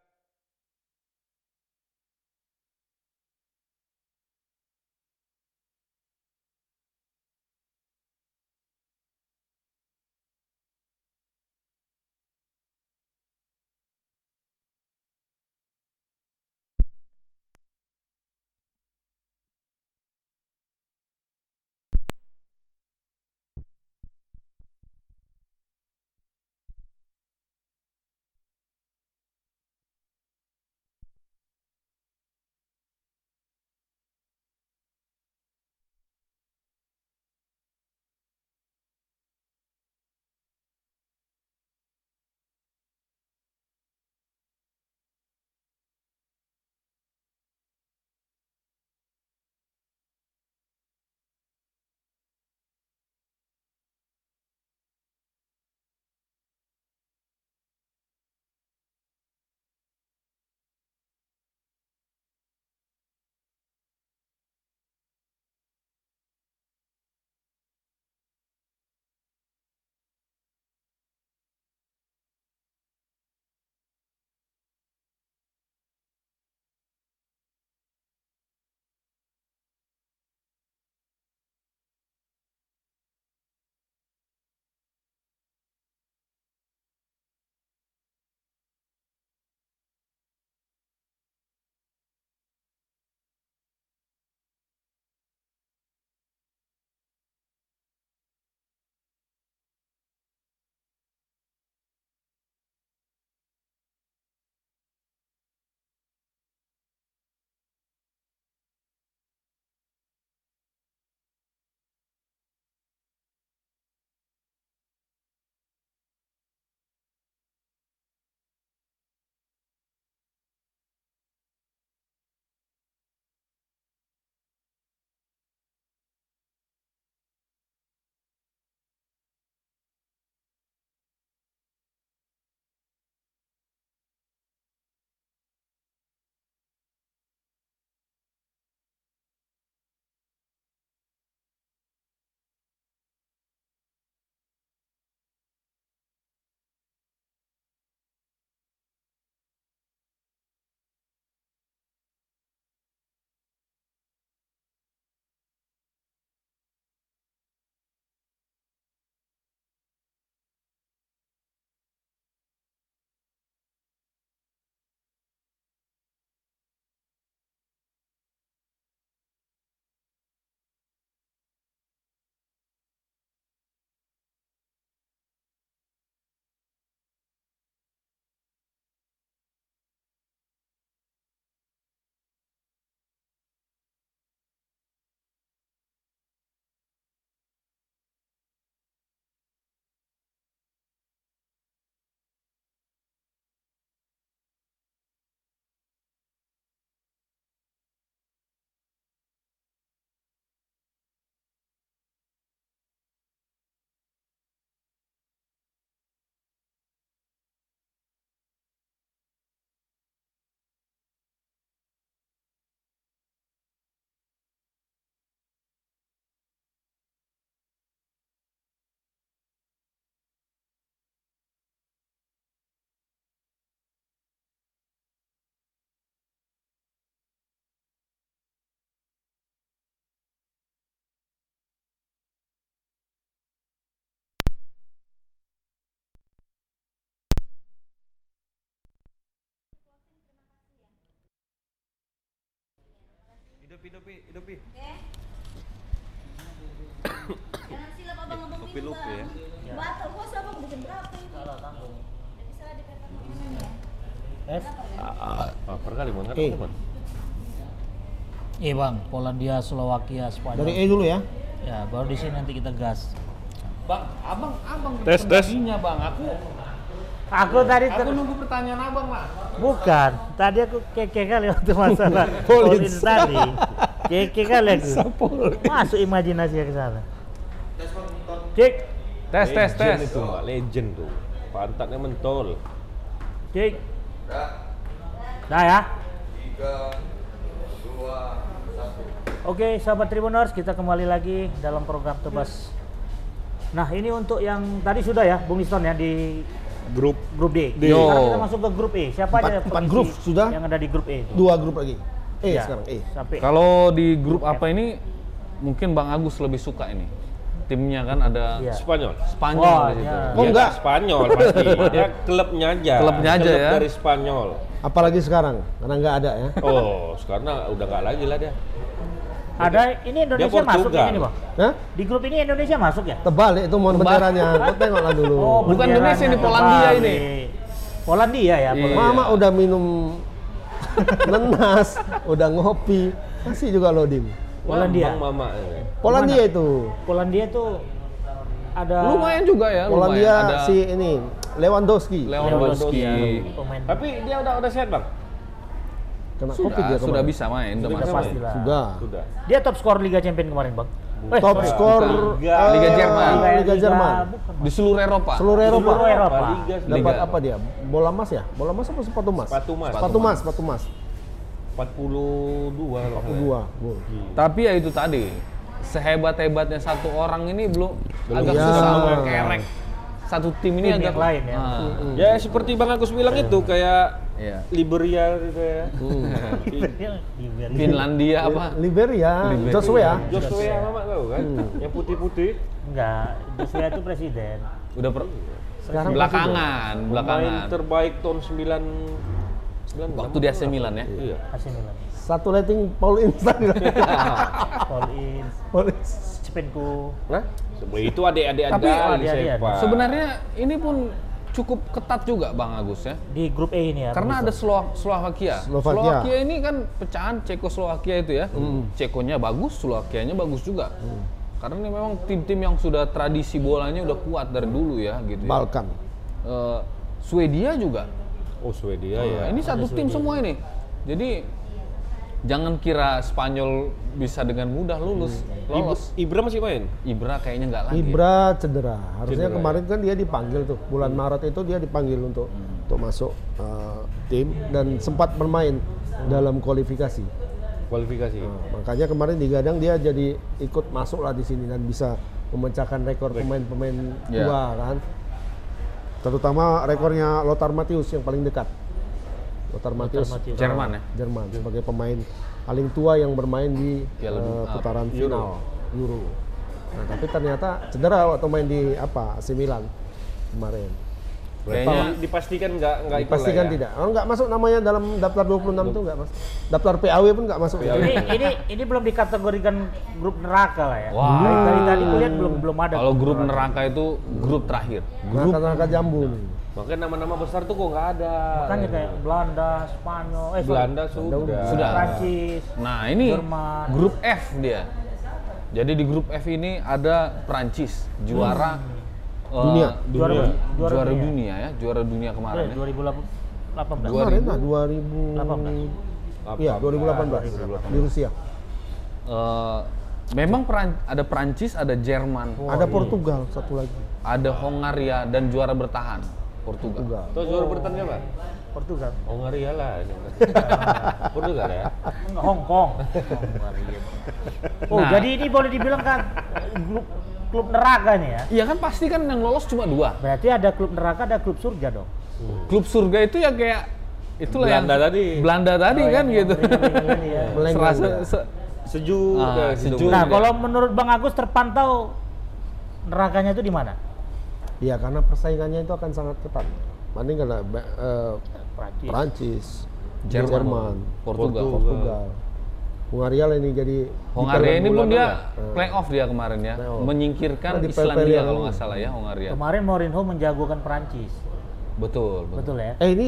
Dopi, dopi, dopi.
Oke. Jangan silap abang-abang
Kopi
minum,
lupi ya.
Bang.
Ya.
Batal bos abang bukan berapa ini.
Salah tanggung.
Jadi salah di paper makanan ya.
F.
Berapa, Bang?
Ah,
Apa kali mau
Eh.
nggak?
Iya bang, Polandia, Slovakia, Spanyol.
Dari E dulu ya.
Ya, baru di sini nanti kita gas.
Bang, abang, abang.
Tes, tes.
Iya bang, aku,
Aku
Iya.
tadi
aku nunggu pertanyaan abang lah.
bukan, tadi aku keke kali waktu masalah
Polins.
Polins tadi. Keke kali aku. Masuk imajinasi ke sana. Cek,
Tes, tes, tes.
Legend itu, Mbak. Legend tuh. Pantatnya mentol.
cek. Dah ya. Oke, sahabat Tribuners, kita kembali lagi dalam program Tebas. Nah, ini untuk yang tadi sudah ya, Bung Liston ya di
Grup
grup D.
D.
Sekarang kita masuk ke grup E. Siapa
Empat-
aja
empat
pengisi
grup sudah.
yang ada di grup E? itu?
Dua grup lagi. E
Ya,
sekarang E.
Sampai
Kalau di grup apa ini, mungkin Bang Agus lebih suka ini. Timnya kan ada
Iya.
Spanyol.
Spanyol
Wah,
di situ.
iya.
Oh,
Dia
enggak.
tak Spanyol pasti. Dia klubnya aja.
Klubnya aja
Klub
ya.
dari Spanyol.
Apalagi sekarang karena nggak ada ya.
Oh, sekarang udah nggak lagi lah dia.
ada ini Indonesia
Portugal.
masuk ini nih, Bang.
Hah?
Di grup ini Indonesia masuk ya? Oh,
Tebal ya, itu mohon
Tebal.
benderanya. Kau tengoklah dulu.
bukan
benderanya
Indonesia, ini
terbalik.
Polandia ini.
ya, Polandia ya,
Iya.
Polandia.
Mama udah minum nenas, udah ngopi, masih juga loading.
Polandia.
Bang Mama. ini.
Polandia itu.
Polandia tuh ada
Lumayan juga ya,
Polandia
lumayan. Ada
si ini Lewandowski.
Lewandowski.
pemain.
Tapi dia udah udah sehat, Bang?
Kena
Sudah,
covid dia
sudah
kemarin.
bisa main, sudah
Sudah
masuk.
pasti lah.
Sudah.
Sudah.
Dia top skor Liga Champion kemarin, Bang. Eh,
Top
sorry.
skor
Liga-
eh,
Liga Jerman.
Liga Jerman.
bukan.
Di seluruh Eropa.
Seluruh Eropa.
Seluruh Eropa.
Liga,
Dapat
Liga.
apa dia? Bola emas ya? Bola emas apa sepatu emas?
Sepatu emas.
Sepatu emas, sepatu emas.
Iya.
42 kalau nggak salah.
Dua gol.
Tapi ya itu tadi, sehebat-hebatnya satu orang ini belum,
Belum.
agak
Iya.
susah kerek. Satu tim ini
Tim
agak
yang lain ya.
Ah,
Ya seperti Bang Agus bilang itu kayak
Iya.
Liberia gitu ya.
Finlandia apa?
Liberia,
Liberia.
Joshua. ya?
Joshua Mama tahu kan? Yang putih-putih.
Enggak, Joshua itu presiden.
Udah per
Sekarang
belakangan,
Pemain
belakangan.
terbaik tahun 9 9
Waktu di AC Milan ya.
Iya.
AC Milan.
Satu letting Paul Insta di
All in,
Paul Insta.
Cepenku.
Nah, sebelum itu adik-adik ada
Tapi-
di
Adik-adik
sepak.
ada.
Sebenarnya ini pun cukup ketat juga Bang Agus ya.
di grup E ini ya.
Karena ada
pemirsa.
Slo- Slovakia.
Slovakia.
ini kan pecahan Cekoslowakia itu ya. Cekonya bagus, Slovakianya bagus juga. Karena ini memang tim-tim yang sudah tradisi bolanya udah kuat dari dulu ya gitu. Ya.
Balkan.
Eh, Swedia juga.
Oh, Swedia ya.
Nah, ini satu tim semua ini. Jadi jangan kira Spanyol bisa dengan mudah lulus
Ibra,
lolos.
Hmm. Ibra masih main?
Ibra kayaknya nggak lagi.
Ibra cedera. Harusnya
Cedera, ya. Hmm.
kemarin kan dia dipanggil tuh. Bulan Maret itu dia dipanggil untuk untuk masuk eh, tim dan sempat bermain dalam kualifikasi.
Kualifikasi.
Nah, makanya kemarin digadang dia jadi ikut masuk lah di sini dan bisa memecahkan rekor pemain-pemain
Ya.
tua kan. Terutama rekornya Lothar Matthäus yang paling dekat. Lothar Matthäus
Matthäus.
Jerman ya.
Jerman
Iya.
sebagai pemain paling tua yang bermain di
Piala
eh,
Dunia.
putaran
Euro.
final Euro. Nah, tapi ternyata cedera waktu main di apa? AC Milan kemarin.
Kayaknya
Tapi dipastikan nggak nggak ikut lah
Pastikan
ya?
tidak. Oh, nggak masuk namanya dalam daftar 26 itu nggak masuk. Daftar PAW pun nggak masuk.
ini, ini ini belum dikategorikan grup neraka lah ya.
Wah.
Dari tadi tadi kulihat belum belum ada.
kalau grup neraka itu grup terakhir.
Grup neraka jambu nih.
Makanya nama-nama besar tuh kok nggak ada.
Makanya Kan kayak Belanda, Spanyol, eh sorry,
Belanda sudah.
Sudah.
Prancis.
Nah ini
Jerman.
grup F dia. Jadi di grup F ini ada Prancis juara eh,
Dunia.
Juara,
Juara-
juara,
juara
dunia.
dunia.
ya, juara dunia kemarin.
Eh,
ya.
2018.
Dua-
Nah, Kemarin
2000.
lah 2000 Iya, 2018 di Rusia.
Eh, memang Peran- ada Prancis, ada Jerman,
Ada Portugal satu lagi.
ada Hongaria dan juara bertahan Portugal.
Portugal.
Terus juara bertahan siapa?
Portugal.
Hongaria lah. ini. Portugal ya?
Enggak, Hong Kong. Oh,
Nah.
jadi ini boleh dibilang kan grup klub neraka nih ya.
Iya kan pasti kan yang lolos cuma dua.
Berarti ada klub neraka, ada klub surga dong.
Klub surga itu ya kayak itulah
Belanda
yang
tadi.
Belanda tadi
Oh, iya,
kan gitu.
Ringan-ringan ya.
Melenggang
Serasa-
dia.
se-
Sejuk.
Ah,
dah,
sejuk.
gitu.
Nah, kalau menurut Bang Agus terpantau nerakanya itu di mana?
Iya, karena persaingannya itu akan sangat ketat. Banding karena ba-
Iya.
eh, Prancis, Jerman,
Jerman, Portugal.
Portugal, Hungaria lah ini jadi
Hongaria ini pun
bulan
dia
mana?
Hmm. playoff dia kemarin ya,
Playoff.
menyingkirkan
Nah, di
Islandia
PPL
kalau nggak
ini.
salah ya Hongaria.
Kemarin Mourinho menjagokan Perancis,
Betul, betul.
betul ya?
eh ini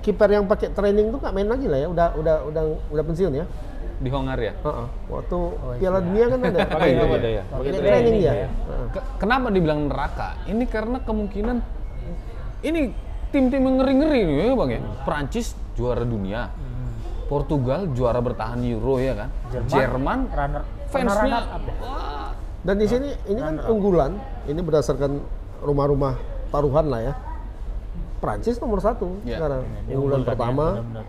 kiper yang pakai training tuh nggak main lagi lah ya udah udah udah udah pensiun ya
Di Hongaria.
Heeh. waktu Piala Dunia kan ada
Pakai
Iya,
apa
iya.
dia ya?
Pakai
Pakai
training
training
dia
ya.
Heeh.
Ke- kenapa dibilang neraka? Ini karena kemungkinan ini tim-tim yang ngeri-ngeri nih ya bang ya. Prancis juara dunia, Portugal juara bertahan Euro ya kan, Hmm. Jerman,
runner,
fansnya
runner up ya?
wah,
dan di sini ini kan
Nah,
unggulan ini berdasarkan rumah-rumah taruhan lah ya Prancis nomor satu
Iya.
sekarang
Diunggulkan
unggulan
ya,
pertama
benar-benar.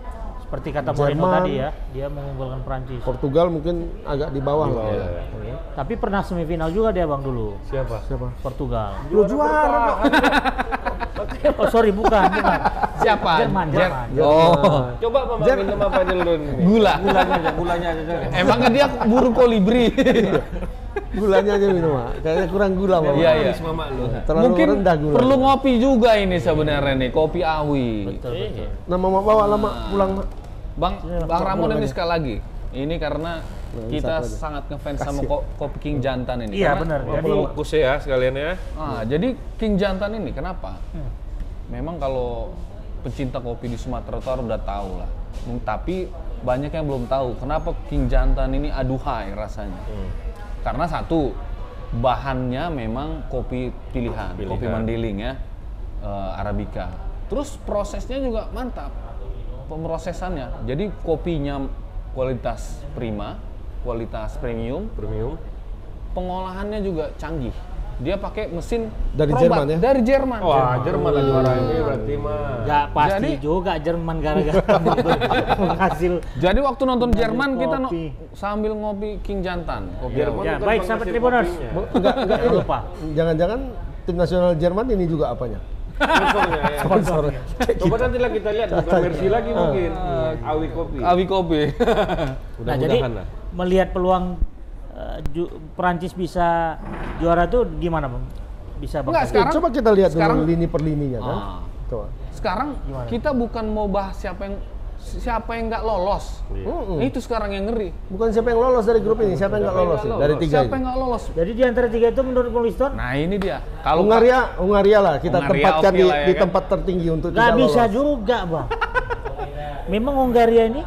Seperti kata Mourinho
Jerman.
tadi ya, dia mengunggulkan Perancis.
Portugal mungkin agak di bawah lah
Iya.
ya.
Tapi pernah semifinal juga dia bang dulu,
Siapa?
siapa
Portugal.
lu juara
Oh sorry bukan, bukan.
siapa?
Jerman,
Jer-
Jerman.
Oh,
Coba mama minum apa dulu ini?
Gula.
Gulanya aja, gulanya aja. jangan.
emang kan dia burung kolibri.
gulanya aja minum Mak. kayaknya kurang gula Mak.
Iya, iya.
Habis mama lu.
terlalu
Mungkin
rendah gula
perlu ngopi juga ini sebenarnya nih, kopi awi.
Betul, betul.
nama mak bawa lama pulang Mak.
Bang,
Iya,
Bang Ramon ini sekali lagi. Ini karena kita sangat ngefans sama ko- kopi King Jantan ini.
Iya
Karena-
benar. Jadi
Fokus ya sekalian ya.
Ah, jadi King Jantan ini kenapa? Memang kalau pecinta kopi di Sumatera Utara udah tahu lah. Hmm, Tapi banyak yang belum tahu kenapa King Jantan ini aduhai rasanya. Karena satu bahannya memang kopi pilihan, kopi
Pilihan.
mandiling ya, eh, arabica. Terus prosesnya juga mantap, pemrosesannya. Jadi kopinya kualitas prima, kualitas premium,
Premium.
pengolahannya juga canggih. Dia pakai mesin
Dari
perobat,
Jerman ya?
Dari Jerman.
Wah, Jerman lah juara ini berarti mah.
nggak pasti
Jadi-
juga Jerman gara-gara berhasil.
Jadi waktu nonton
Sambil
Jerman kita no-
kopi.
sambil ngopi King Jantan. Iya. Kopi
Jerman
Ya
bukan
baik
bang
sahabat
mesin
Tribuners.
kopinya.
enggak
Jangan
enggak ini
lupa.
jangan-jangan tim nasional Jerman ini juga apanya Eh,
Sponsornya ya.
sponsornya
Coba nanti lah kita lihat bukan Mercy lagi mungkin. Hmm, Awi kopi.
Awi kopi.
Nah jadi
Mudah-mudahan lah.
melihat peluang eh, ju- Perancis bisa juara tuh gimana bang? Bisa bang?
Nggak,
Kasih?
sekarang-
coba kita lihat
sekarang-
dulu lini per lininya kan
Ah.
coba
Sekarang kita bukan mau bahas siapa yang siapa yang nggak lolos.
Mm-mm.
Itu sekarang yang ngeri.
bukan siapa yang lolos dari grup ini siapa yang nggak lolos
Nggak
nih, dari tiga
Siapa
ini
yang nggak lolos?
Jadi di antara tiga itu menurut Bung Liston
Nah ini dia. Kalau
Hungaria Hungaria lah kita
Hungaria
tempatkan
oke
di,
lah ya
di
kan.
tempat tertinggi untuk
nggak
tidak
bisa
lolos.
juga bang. Memang Hungaria ini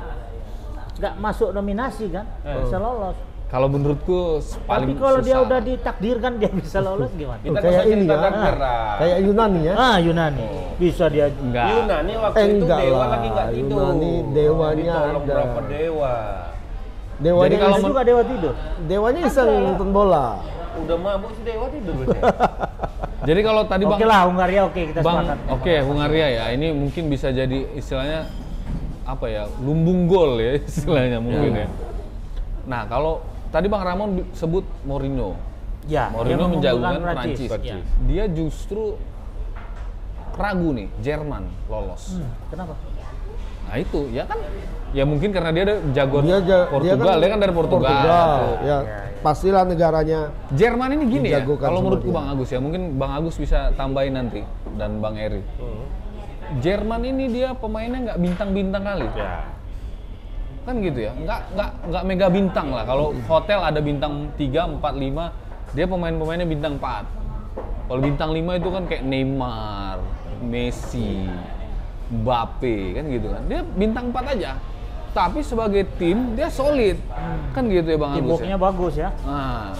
nggak masuk nominasi kan, nggak bisa lolos.
kalau menurutku s-
Tapi
paling
kalau dia
susah.
udah ditakdirkan dia bisa lolos gimana?
Tuh,
Kita
kayak
nggak usah
ini
cerita
ya
takdir lah.
kayak Yunani ya
Ah Yunani bisa dia
Nggak.
Yunani waktu
Eh,
itu
enggak
dewa
lah.
lagi nggak tidur.
Yunani dewanya
Ditolong
ada.
berapa dewa.
dewanya
Jadi kalau
iseng-
men-
juga dewa tidur.
dewanya iseng nonton bola
Udah mabuk si dewa tidur berarti.
Jadi kalau tadi
Oke
bang
lah Hungaria oke kita
Bang,
sepakat.
oke Hungaria ya. Ini mungkin bisa jadi istilahnya apa ya? Lumbung gol ya istilahnya mungkin ya. Nah, kalau tadi Bang Ramon bi- sebut Mourinho.
Ya, dia
Mourinho
mengunggulkan
menjagokan
Prancis.
Prancis. Iya.
Ya.
Dia justru ragu nih, Jerman lolos.
Hmm, Kenapa?
Nah, itu ya kan ya mungkin karena dia ada jagoan
dia, ja-
Portugal, dia kan, dari Portugal. Tuh.
Iya,
ya pastilah negaranya
Jerman ini gini ya,
Dijagokan
kalau
sama
menurutku
dia.
Bang Agus ya, mungkin Bang Agus bisa tambahin nanti dan Bang Eri.
Hmm.
Jerman ini dia pemainnya nggak bintang-bintang kali,
Ya.
kan gitu ya? Nggak nggak nggak mega bintang lah. Kalau hotel ada bintang 3, 4, 5, dia pemain-pemainnya bintang 4. Kalau bintang 5 itu kan kayak Neymar, Messi, Mbappe kan gitu kan. Dia bintang 4 aja. Tapi sebagai tim dia solid. Kan gitu ya Bang Agus
Tiboknya
ya.
bagus ya.
Nah,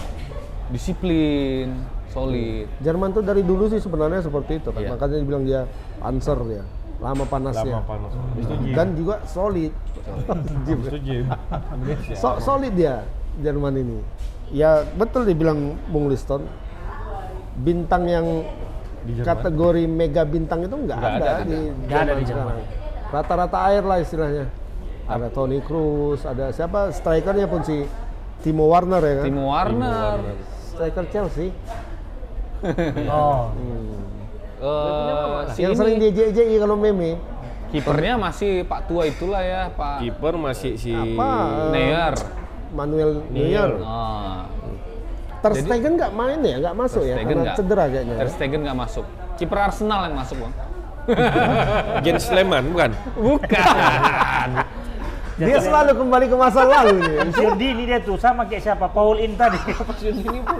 disiplin, solid.
Jerman tuh dari dulu sih sebenarnya seperti itu kan.
Iya.
Makanya dibilang dia panser dia. Lama panasnya.
Lama panas.
Dan juga solid.
Setuju.
Iya,
So- solid dia Jerman ini. Ya betul dibilang Bung Liston. Bintang yang kategori mega bintang itu nggak
Nggak
ada,
ada,
di
Nggak ada
Jerman
di Jerman.
sekarang. Rata-rata air lah istilahnya. Ada Toni Kroos, ada siapa strikernya pun si Timo Werner ya kan?
Timo Warner,
Striker Chelsea.
Oh.
eh, si
yang sering
ini,
di JJI kalau meme.
kipernya masih Pak Tua itulah ya Pak
Kiper masih si
Apa? eh,
Neuer.
Manuel Neuer.
Ah,
Ter Stegen nggak main ya, nggak masuk ya,
Stegen
karena
nggak-
cedera kayaknya.
Ter Stegen nggak masuk. Kiper Arsenal yang masuk bang.
Jens Sleman bukan?
Bukan.
Dia selalu kembali ke masa lalu ini.
Sirdi ini dia tuh sama kayak siapa Paul In tadi.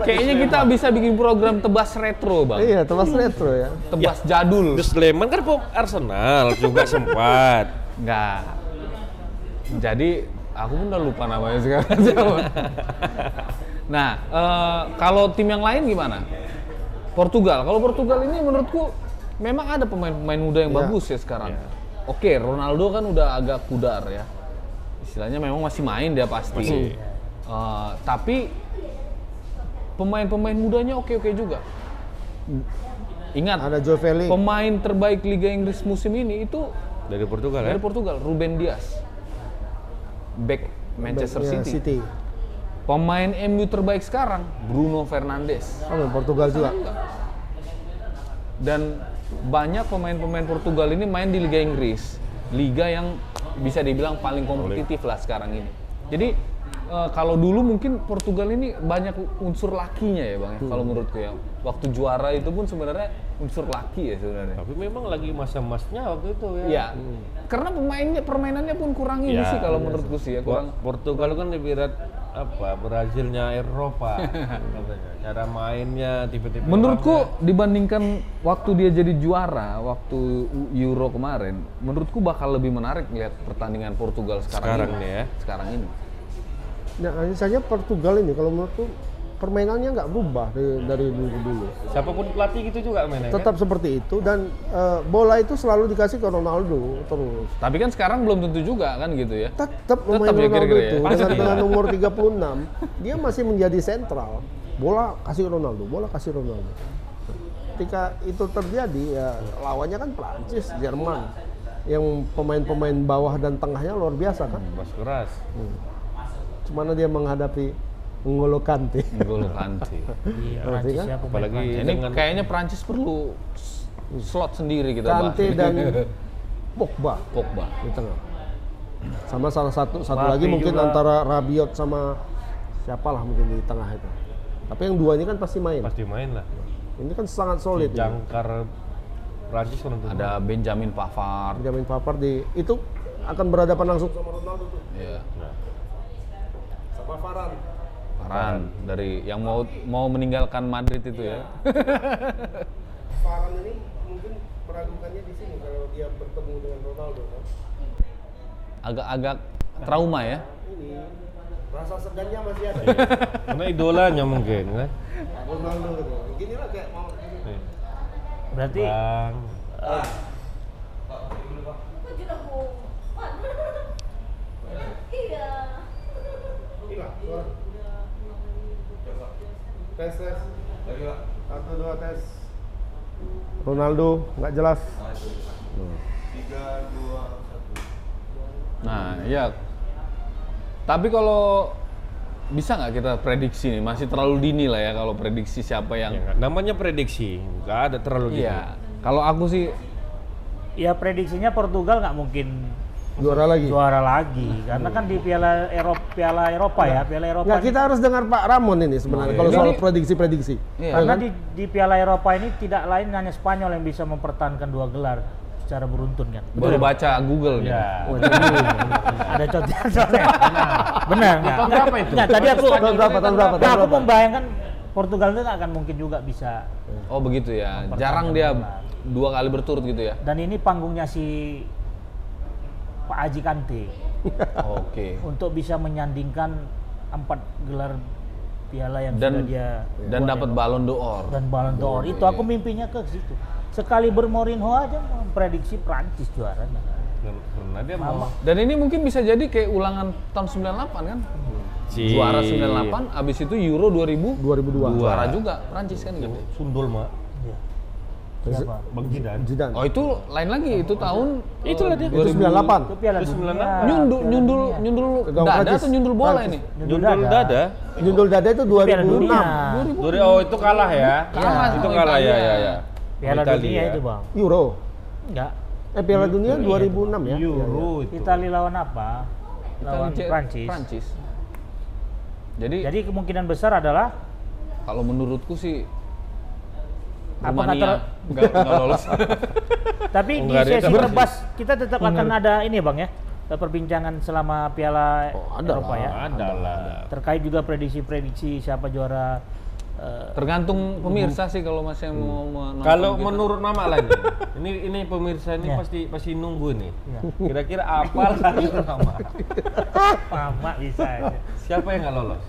Kayaknya kita bisa bikin program tebas retro, Bang.
Iya, temas retro ya.
Tebas jadul.
Terus Sleman kan pop Arsenal juga sempat.
Enggak. Jadi aku pun udah lupa namanya sekarang. Siapa? nah, eh, kalau tim yang lain gimana? Portugal. Kalau Portugal ini menurutku memang ada pemain-pemain muda yang
Iya.
bagus ya sekarang. Oke, Ronaldo kan udah agak pudar ya. Istilahnya memang masih main dia pasti. Eh, tapi pemain-pemain mudanya oke-oke juga. Ingat,
Ada Joe Felix.
pemain terbaik Liga Inggris musim ini itu
Dari Portugal ya.
dari Portugal, Ruben Dias. Back Manchester
Ya,
City. Pemain MU terbaik sekarang Bruno Fernandes.
Oh, Portugal juga.
Dan banyak pemain-pemain Portugal ini main di Liga Inggris. Liga yang bisa dibilang paling kompetitif lah sekarang ini. Jadi eh, kalau dulu mungkin Portugal ini banyak unsur lakinya ya Bang ya, kalau menurutku ya. Waktu juara itu pun sebenarnya unsur laki ya sebenarnya.
Tapi memang lagi masa emasnya waktu itu ya.
Iya. Karena pemainnya permainannya pun kurang ini
Ya,
sih kalau menurutku sih ya, kurang
Por- Portugal kan lebih berat apa Brazilnya Eropa katanya. Cara mainnya tipe-tipe
Menurutku
orangnya.
dibandingkan waktu dia jadi juara waktu U- Euro kemarin, menurutku bakal lebih menarik lihat pertandingan Portugal sekarang,
Sekarang
ini.
nih ya.
Sekarang ini.
Nah, misalnya Portugal ini kalau menurutku permainannya nggak berubah dari, dari dulu ke dulu.
siapapun pelatih gitu juga
Ya
mainnya.
Tetap
kan?
seperti itu dan eh, bola itu selalu dikasih ke Ronaldo terus.
Tapi kan sekarang belum tentu juga kan gitu ya.
Tetap
Tetap
pemain
ya,
Ronaldo
kira-kira ya.
itu
Pasti.
dengan, dengan umur 36 dia masih menjadi sentral. Bola kasih Ronaldo, bola kasih Ronaldo. Ketika itu terjadi ya lawannya kan Prancis, Jerman yang pemain-pemain bawah dan tengahnya luar biasa kan.
Bas keras.
Cuman dia menghadapi N'Golo Kante.
Gol Kante.
Iya,
Berarti
Prancis
kan?
ya pemain
Apalagi
Prancis.
Ini
dengan
kayaknya Prancis perlu s- slot sendiri kita bahas.
Kante dan Pogba
Pogba.
di tengah. Sama salah satu satu
Mbappe
lagi mungkin
juga.
antara Rabiot sama siapalah mungkin di tengah itu. Tapi yang duanya kan pasti main.
pasti main lah.
Iya,
Ini kan sangat solid. ini.
Jangkar Prancis kan untuk
Ada Benjamin Pavard.
Benjamin Pavard di itu akan berhadapan langsung sama Ronaldo tuh.
Iya.
Sama Varane.
Varane dari yang mau mau meninggalkan Madrid itu ya.
Varane ini mungkin meragukannya di sini kalau dia bertemu dengan Ronaldo kan.
Agak-agag trauma ya.
Ini rasa segannya masih ada.
karena idolanya mungkin kan.
Ronaldo gitu. Gini lah kayak mau
Berarti
Bang.
Iya.
Inilah, suara. Tes, tes. Satu, dua, tes. Ronaldo, nggak jelas.
Nah, ya. Tapi kalau bisa nggak kita prediksi nih? Masih terlalu dini lah ya kalau prediksi siapa yang.
Ya, nggak- namanya prediksi, nggak ada terlalu gitu. dini.
Iya. Kalau aku sih
ya prediksinya Portugal nggak mungkin
Juara lagi.
juara lagi karena kan di Piala Eropa Piala Eropa ya Piala Eropa
Nggak,
ini-
kita harus dengar Pak Ramon ini sebenarnya kalau
Ini-
soal prediksi-prediksi.
Iya.
Ayo
karena
kan?
di, di Piala Eropa ini tidak lain hanya Spanyol yang bisa mempertahankan dua gelar secara beruntun kan
baru baca Google nih.
Ya.
Iya. ada contoh contohnya benar nggak
Tahun berapa itu?
Nggak, tadi aku
Tahun berapa, tahun berapa,
Nah,
tahun
aku
berapa?
membayangkan Portugal itu nggak akan mungkin juga bisa
Oh begitu ya. Jarang dia dua kali berturut gitu ya.
dan ini panggungnya si Pak Aji Kante
Oke.
untuk bisa menyandingkan empat gelar piala yang sudah
Dan
dia
dan
buat
dapat
ya.
Ballon d'Or.
dan Ballon d'Or itu aku mimpinya ke situ sekali bermorinho aja memprediksi Prancis juara
Karena dia mau
Dan ini mungkin bisa jadi kayak ulangan tahun 98 kan?
Si-
Juara 98, abis itu Euro 2000,
2002.
juara juga Prancis kan gitu.
Sundul mak.
Iya. siapa
Bang Jidan.
Zidane.
Oh itu lain lagi itu tahun eh,
Itulah dia.
itu 98.
itu piala
Itu
dunia
96.
nyundul
Piala
nyundul
dunia.
nyundul
Gawang
dada
Prancis.
atau nyundul bola
Prancis.
ini?
Nyundul dada.
Jundul dada itu
Piala dunia
2006.
Duri, oh itu kalah ya?
Kalah
itu
sama
kalah ya,
Italia.
ya, ya.
piala
Italia.
dunia itu bang
Euro.
enggak
Eh Piala Dunia 2006 ya.
Euro itu.
Italia lawan apa lawan
Italia-
Prancis
Prancis. Kan Jadi,
jadi kemungkinan besar adalah
kalau menurutku sih
Apa
Rumania
kata-
nggak nggak lolos.
Tapi di
Hungaria
sesi
tetap-
rebas kita tetap akan ada ini bang ya eh, perbincangan selama Piala
Oh, ada
Eropa
lah.
ya?
Ada lah.
Terkait juga prediksi-prediksi siapa juara eh,
Tergantung pemirsa sih kalau masih mau
Hmm.
gitu. menonton
Kalau
kita.
menurut Mama lagi, ini ini pemirsa ini
Ya.
pasti pasti nunggu nih. Kira-kira apa lagi Mama?
Mama bisa aja.
Siapa yang nggak lolos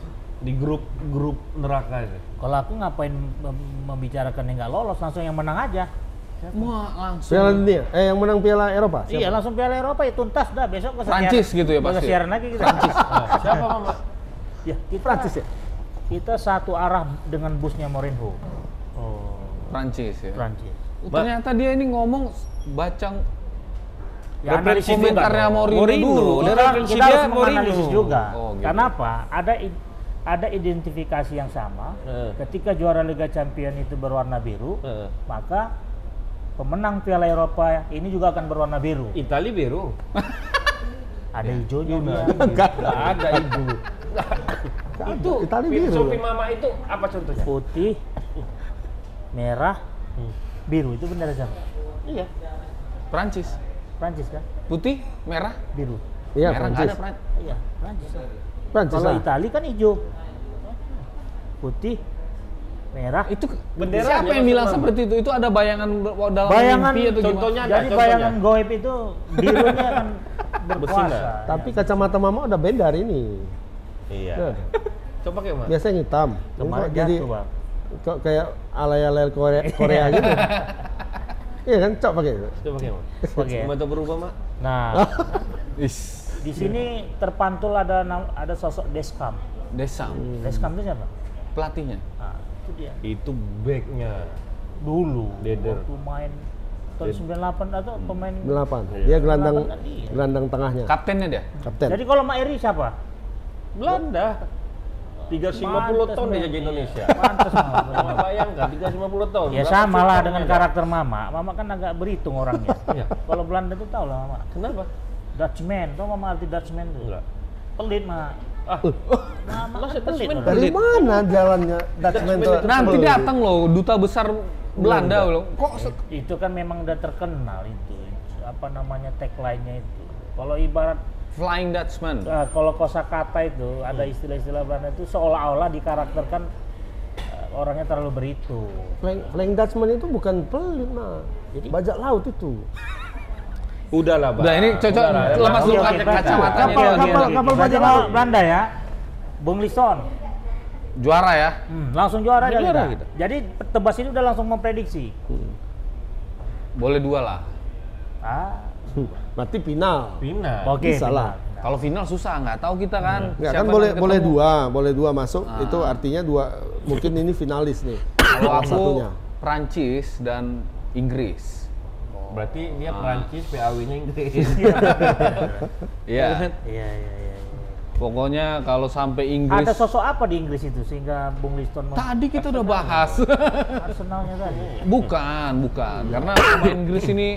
di grup grup neraka ini?
Kalau aku ngapain mem- membicarakan yang nggak lolos, langsung yang menang aja.
Wah, langsung
Piala dunia, eh yang menang Piala Eropa.
Iya, langsung Piala Eropa ya tuntas dah besok nggak usah
Prancis
siaran-
gitu ya
nggak usah
pasti.
siaran lagi kita. Prancis.
Siapa Mama?
ya, kita,
Prancis ya?
Kita satu arah dengan busnya Mourinho,
Oh.
Prancis ya.
Prancis.
Oh, ternyata dia ini ngomong baca
Ya, analisis
Referensi
juga.
komentarnya Mourinho,
Mourinho.
dulu.
Udah
kita,
referensi
kita
dia
harus menganalisis
Mourinho.
juga.
Oh, gitu.
Karena apa? Ada i- ada identifikasi yang sama.
Heeh.
Eh.
Ketika juara Liga Champion itu berwarna biru,
Heeh.
maka pemenang Piala Eropa ini juga akan berwarna biru.
Itali biru.
Iya. Ada
Iya.
hijaunya dia.
Nggak ada ibu. itu
Itali
pi-
biru.
Sopi Mama itu apa contohnya?
putih, merah, Hmm. biru itu benar sama.
Iya.
Prancis.
Prancis kan?
Putih, merah,
Biru.
Iya,
merah nggak
Prancis.
ada Prancis.
Iya, Prancis.
Prancis ah.
Kalau
lah.
Itali kan hijau. Putih, merah.
Itu
Bendera aja
siapa yang
masuk
bilang
mana?
seperti itu? Itu ada bayangan ber- dalam
Bayangan
mimpi atau gimana?
contohnya ada,
Jadi bayangan goib itu birunya akan berkuasa. iya.
Bersinar.
Tapi kacamata mama udah beda hari ini.
Iya.
Ya.
Nah,
Coba kayak Mama.
biasanya yang hitam. Ini
Kemarin
kok
jatuh, Bang.
kok kayak alay-alay Korea, Korea gitu. Iya kan, cok pakai itu.
Coba kayak Mama.
Oke.
Gimana tuh berubah, Mak?
Nah,
Is.
di sini terpantul ada nam- ada sosok Deskam.
Desam,
Deskam itu siapa?
pelatihnya.
Nah, itu dia.
Itu backnya.
Dulu
Deder.
waktu main tahun 98 atau pemain
Delapan.
Iya.
Dia gelandang
Delapan tadi.
gelandang tengahnya.
Kaptennya dia.
Kapten.
Jadi kalau Mak Eri siapa?
Belanda. 350
Pantes
ton ya,
nih.
dia jadi Indonesia.
Pantes Mak.
Mama bayangkan 350 ton.
Ya
Berapa
sama lah
cukup
dengan
ada?
karakter Mama. Mama kan agak berhitung orangnya.
Iya.
Kalau Belanda tuh tau lah Mama.
Kenapa?
Dutchman, tau Mama arti Dutchman tuh?
Enggak.
Pelit Mak.
Ah.
Mama kan pelit. Mak.
Dari mana jalannya Dutchman itu?
Nanti datang loh duta besar Belanda loh. Kok se-
Itu kan memang udah terkenal itu. Apa namanya tagline-nya itu. Kalau ibarat
Flying Dutchman?
eh, kalau kosakata itu ada istilah-istilah Belanda itu seolah-olah dikarakterkan eh, orangnya terlalu berhitung.
Flying, flying Dutchman itu bukan pelit, nah. Bajak laut itu.
Udahlah, Bang.
Udah ini cocok
Udahlah, ya,
lepas
Bang.
dulu
Oke,
kaca-
oke, baca.
kacamatanya
kapal,
dulu,
kapal,
dia.
kapal bajak laut Belanda ya. Bung Lison.
Juara ya.
Hmm, langsung juara dia.
Juara
kita.
kita.
Jadi tebas ini udah langsung memprediksi.
Boleh dua lah.
Ah,
Berarti final.
Pina.
oke.
bisa lah.
benar.
Kalau final susah nggak tahu kita kan.
Enggak
Siapa
kan boleh
nanti
boleh
ketemu. Ah.
dua, boleh dua masuk. Itu artinya dua mungkin ini finalis nih.
Kalau
Salah
aku Prancis dan Inggris.
Berarti dia
Ah.
Perancis, PAW-nya Inggris.
Iya.
Iya, iya, iya. iya.
Pokoknya kalau sampai Inggris.
Ada sosok apa di Inggris itu sehingga Bung Liston mau
Tadi kita udah bahas.
Arsenalnya tadi?
bukan, bukan. Karena pemain Inggris ini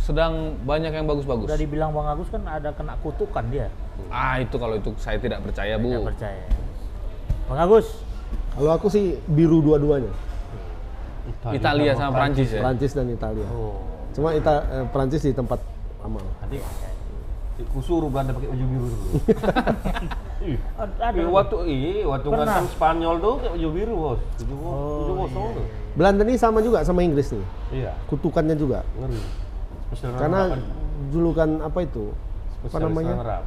sedang banyak yang bagus-bagus.
Udah dibilang Bang Agus kan ada kena kutukan dia.
Ah itu kalau itu saya tidak percaya
Nggak
bu.
percaya. Bang Agus,
Kalau aku sih biru dua-duanya,
Italia sama Prancis
Iya.
ya.
Prancis dan Italia.
Oh.
Cuma Ita, eh, Prancis di tempat lama.
Nanti kusuruh Belanda pakai baju biru dulu.
ad- ada.
Eh, waktu iya, waktu
Pernah. Oh,
ngasem Spanyol tuh kayak baju biru, Bos. Baju bos, baju bos
iya,
tuh.
Belanda ini sama juga sama Inggris nih,
Iya,
kutukannya juga.
ngeri. Spesial
Karena
rap, kan?
julukan apa itu? Apa
Spesialis
namanya?
rap.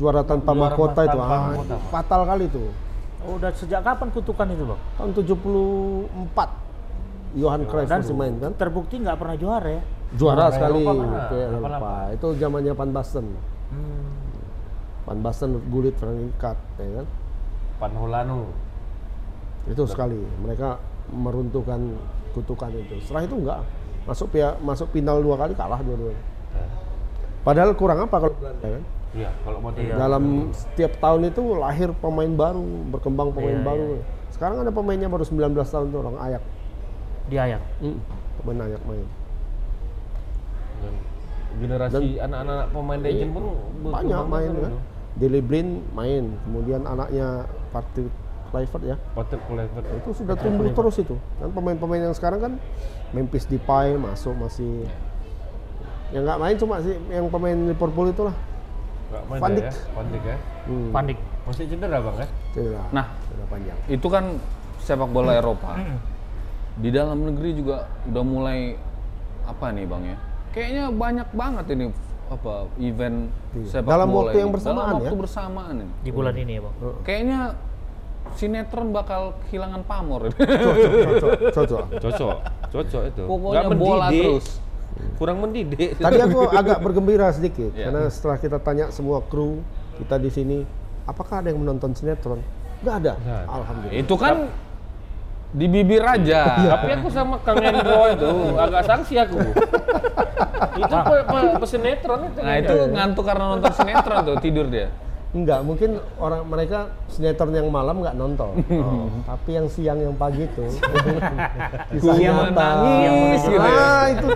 Juara tanpa
Juara
mahkota itu.
tanpa
Ah,
mahkota.
fatal kali itu.
Oh, udah sejak kapan kutukan itu, Bang?
Tahun 74 Johan Cruyff
Dan
masih main kan?
terbukti nggak pernah juara ya.
Juara sekali
Ya, Eropa pernah.
ke
Apa Hmm.
Eropa.
apa?
Itu zamannya Van Basten. Van Basten, Gullit, Frank Cut, ya kan?
Panholano.
Itu sekali mereka meruntuhkan kutukan itu. Setelah itu enggak masuk pia, masuk final dua kali kalah dua-duanya. Padahal kurang apa kalau Belanda kan?
Iya, kalau mau tanya.
Dalam setiap tahun itu lahir pemain baru, berkembang pemain baru. Sekarang ada pemainnya baru 19 tahun tuh orang Ayak.
Di Ayak.
Pemain Ayak main.
Dan generasi anak-anak pemain legend pun berkembang
Iya. Banyak main
dulu.
kan. Dele Blind main, kemudian anaknya Patrick Kluivert ya.
Patrick Kluivert.
Itu sudah tumbuh terus itu. Dan pemain-pemain yang sekarang kan Memphis Depay masuk masih Yang nggak main cuma sih yang pemain Liverpool itulah.
Nggak main
Van
dah
Dijk.
ya, Van Dijk ya.
Hmm,
Pandik.
Masih cedera bang ya?
cedera.
Nah.
cedera panjang.
itu kan sepak bola Eropa. Di dalam negeri juga udah mulai apa nih bang ya? Kayaknya banyak banget ini apa event
Iya.
sepak
Dalam
bola
waktu yang
ini.
bersamaan
dalam waktu
ya?
bersamaan ini.
di bulan ini ya bang.
Kayaknya sinetron bakal kehilangan pamor.
Cocok, cocok, cocok.
Cocok, cocok itu.
Pokoknya
Nggak
bola
mendidik.
terus.
Kurang mendidik.
Tadi aku agak bergembira sedikit
Iya.
karena setelah kita tanya semua kru kita di sini, apakah ada yang menonton sinetron? Nggak ada.
Nggak ada.
Alhamdulillah.
Itu kan di bibir aja.
Tapi aku sama Kang Hendro itu agak sanksi aku. itu pe, pe, pesenetron itu.
Nah itu ngantuk karena nonton sinetron tuh tidur dia.
Enggak, mungkin orang mereka sinetron yang malam nggak nonton. Tapi yang siang yang pagi itu. kisah
Ku menangis, gitu ya.
Ah, itu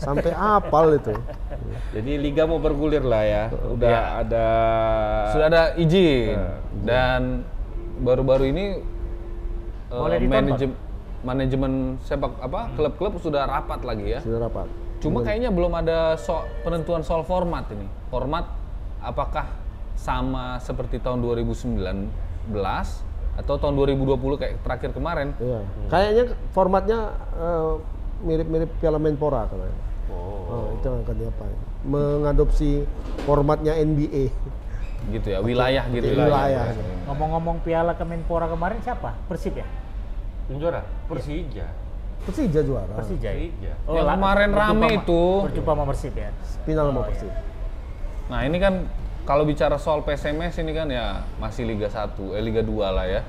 sampai apal itu.
Jadi liga mau bergulir lah ya. Udah ada
Sudah ada Nah, izin dan baru-baru ini eh,
Boleh ditonton.
manajem- manajemen sepak apa klub-klub sudah rapat lagi ya.
Sudah rapat.
Cuma kayaknya belum ada so- penentuan soal format ini. Format apakah sama seperti tahun 2019 atau tahun 2020 kayak terakhir kemarin?
Iya. Kayaknya formatnya eh, mirip-mirip Piala Menpora katanya. Oh. itu yang akan diapain. Mengadopsi formatnya NBA.
Gitu ya, wilayah gitu ya.
Wilayah.
Ngomong-ngomong Piala Kemenpora kemarin siapa? Persib ya?
juara Persija. Iya.
Persija juara.
Persija. ya?
Persija.
Yang
lah,
kemarin
berjumpa
rame
sama-
itu.
Berjumpa sama Persib ya.
Final sama Persib.
Nah, ini kan kalau bicara soal PSMS ini kan ya masih Liga 1, eh Liga 2 lah ya.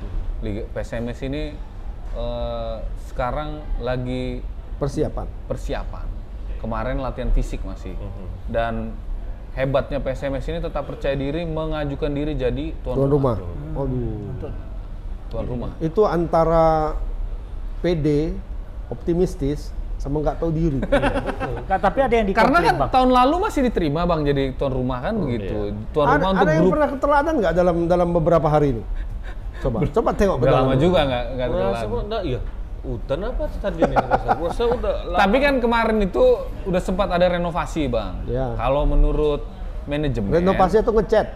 Liga PSMS ini eh, sekarang lagi
Persiapan.
persiapan. Kemarin latihan fisik masih.
Mhm.
Dan hebatnya PSMS ini tetap percaya diri mengajukan diri jadi tuan,
Tuan
rumah.
rumah. Aduh.
Tuan rumah.
Itu antara PD, optimistis, sama nggak tahu diri.
Iya.
Nggak, tapi ada yang
Karena
dikomplain
kan
Iya. bang. Oh, iya.
tahun lalu masih diterima Bang jadi tuan rumah kan begitu. Tuan
ada
rumah untuk
ada yang
grup.
pernah ketelatan nggak dalam dalam beberapa hari ini? Coba, coba tengok
Udah lama
kedalaman.
juga nggak nggak
Rasa
kelar.
kok enggak ya? Hutan apa tadi ini rasa? Rasa udah lama.
Tapi kan kemarin itu udah sempat ada renovasi, Bang.
Iya.
Kalau menurut manajemen
Renovasi atau ngechat?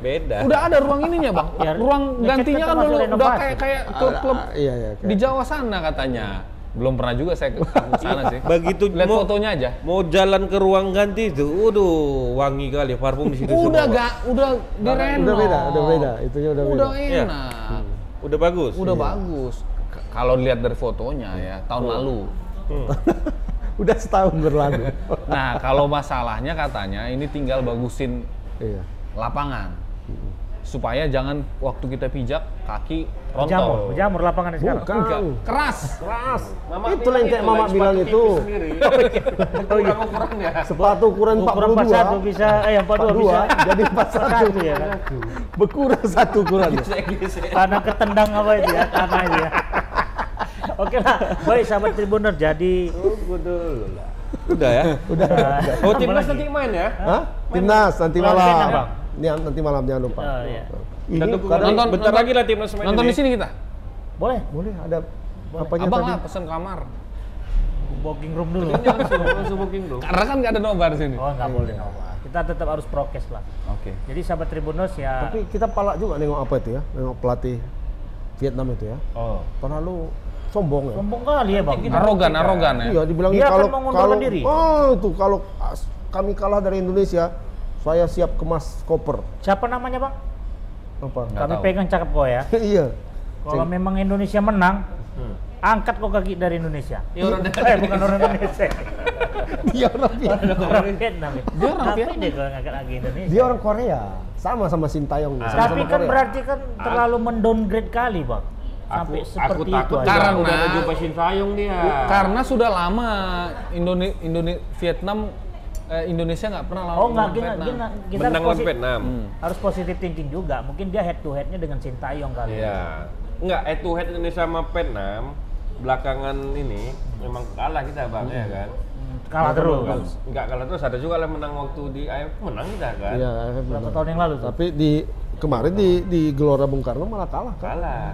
beda.
udah ada ruang ininya, Bang.
Ya,
ruang
ngecek
gantinya
tetap
kan
masuk
udah, udah
renovasi.
kayak kayak klub-klub
Ah, Iya, iya.
di
kayak-
Jawa sana katanya. Belum pernah juga saya ke ke sana sih.
Begitu
lihat
mau-
fotonya aja.
Mau jalan ke ruang ganti itu, waduh, wangi kali parfum di situ.
Udah
semua.
gak, udah direnov.
Udah beda, udah beda. Itunya udah beda.
Udah e-
Iya.
enak.
Udah bagus.
Udah bagus. K- Kalau dilihat dari fotonya ya, tahun lalu.
Udah setahun berlalu.
Nah, kalau masalahnya katanya ini tinggal bagusin
iya.
lapangan supaya jangan waktu kita pijak kaki
Jamur,
rontok
jamur lapangan sekarang.
Bukan.
Enggak, keras
Keras. Mama
Itu yang kayak Mama bilang itu.
ya.
Sepatu ukuran
Ukuran 41
42,
bisa, eh yang 42 bisa.
42 jadi 41.
Satu ya kan.
Berkurang satu ukuran.
Iya.
Tanah ketendang apa itu ya, tanah itu ya. Oke lah, baik sahabat Tribuner, jadi
Udah ya.
udah. eh,
Oh, timnas nanti main ya.
Hah? Timnas nanti
Lawan
malam.
Vietnam, Bang?
Ini nanti malam jangan lupa.
Oh, iya.
Ini
Kita tunggu
kadang-
nanti.
nonton
bentar
nonton-
lagi lah timnas main
nonton
ini.
di sini kita
Boleh,
boleh ada apanya
abang
tadi?
lah pesan kamar
booking room dulu.
Langsung langsung booking dulu.
karena kan nggak ada nobar di sini
Oh nggak boleh Nova. Kita tetap harus prokes lah.
oke
Jadi sahabat Tribuners ya.
Tapi kita palak juga nengok apa itu ya, nengok pelatih Vietnam itu ya.
Oh.
Tahun lalu sombong ya.
sombong kali ya bang.
arogan arogan ya
Iya, dibilang
Dia akan
kalau
mengundurkan
kalau
diri.
oh itu kalau as- kami kalah dari Indonesia, saya siap kemas koper.
Siapa namanya bang?
Apa?
Nggak
Kami
tahu.
pegang cakep kau ya.
iya.
Kalau memang Indonesia menang, angkat kok kaki dari Indonesia.
Ya Hmm. orang
eh bukan orang Indonesia.
Dia orang Vietnam.
orang Vietnam. ya.
Dia orang
Ngapain
Vietnam.
dia kalau ngangkat kaki Indonesia.
Dia orang Korea. Sama sama Sintayong.
Tapi kan berarti kan terlalu mendowngrade kali bang. Sampai
Aku, aku
seperti itu
takut
aja.
Karena-
udah ada jumpa Shin Sayong dia.
karena sudah lama Indone Indone- Vietnam eh, Indonesia nggak pernah lawan
Oh nggak
lawan
gini,
Vietnam.
gini, kita
Menang
harus,
lawan
posi-
Vietnam.
harus positive thinking juga. Mungkin dia head to headnya dengan Sintayong kali.
Iya. Enggak, head to head Indonesia sama Vietnam belakangan ini memang kalah kita Bang ya kan.
Kalah terus.
Enggak kalah terus ada juga lah menang waktu di AFF menang kita kan.
Iya,
Berapa
benar.
tahun yang lalu tuh?
Tapi di kemarin di di Gelora Bung Karno malah kalah kan.
Kalah.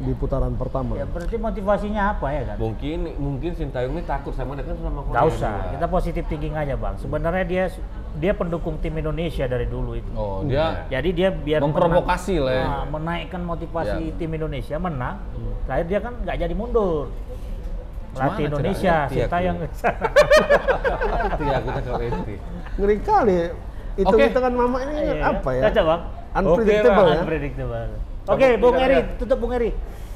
di putaran pertama.
Ya berarti motivasinya apa ya kan?
Mungkin mungkin Sintayong ini takut sama dekat sama
Gak
Korea.
usah,
juga.
kita positif thinking aja bang. Sebenarnya dia dia pendukung tim Indonesia dari dulu itu.
Oh, dia
Jadi dia biar
Memprovokasi
menang-
lah ya.
Nah, menaikkan motivasi
Ya.
tim Indonesia menang. Terakhir dia kan nggak jadi mundur. Latih
Gimana
Indonesia,
caranya?
Sita yang
Ngerti aku cakap ngerti.
Ngeri kali. Itu
Oke.
hitungan mama ini apa ya?
Kacau Iya, bang.
Unpredictable
Oke lah,
ya.
Unpredictable.
Oke,
Oke, Bung
kita
Eri,
lihat.
tutup Bung Eri.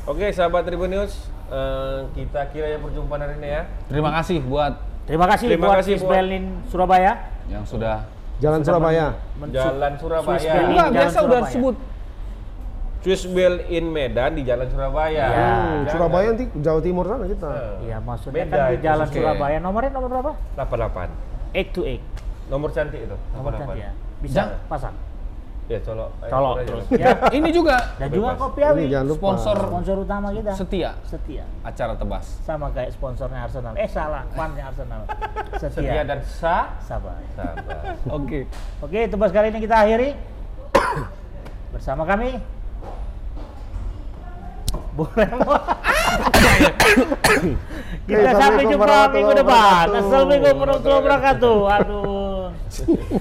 Oke, sahabat Tribun News, eh, kita kira ya perjumpaan hari ini ya.
terima kasih buat
Terima kasih
Terima
buat
kasih
Miss
buat-
Berlin Surabaya.
yang sudah
Jalan Surabaya.
Jalan
Swiss
Surabaya.
Berlin,
Enggak,
Jalan
biasa udah
Surabaya.
sebut
Swiss Bell in Medan di Jalan Surabaya.
Ya.
Hmm,
Jangan. Eh,
Surabaya nanti Jawa Timur sana kita.
Iya, maksudnya
Beda
kan di
itu,
Jalan
oke.
Surabaya. Nomornya nomor berapa?
88.
8 to 8.
Nomor cantik itu.
Nomor cantik ya.
88.
Bisa
Jangan.
pasang.
Ya, colok. Ayo,
Colok
ayo.
terus. Ya.
ini juga
Dan juga
Bebas.
kopi
Ini
awi.
jangan lupa.
Sponsor.
Sponsor utama kita.
setia
Setia.
acara tebas.
Sama kayak sponsornya Arsenal. Eh salah, fannya Arsenal.
Setia
Setia.
dan sah.
Sabar.
Sabar.
Oke.
Oke, tugas kali ini kita akhiri bersama kami. Boleh Kita sampai jumpa
Assalamualaikum
minggu
warahmatullahi
depan.
wabarakatuh.
Assalamualaikum warahmatullahi wabarakatuh. Aduh.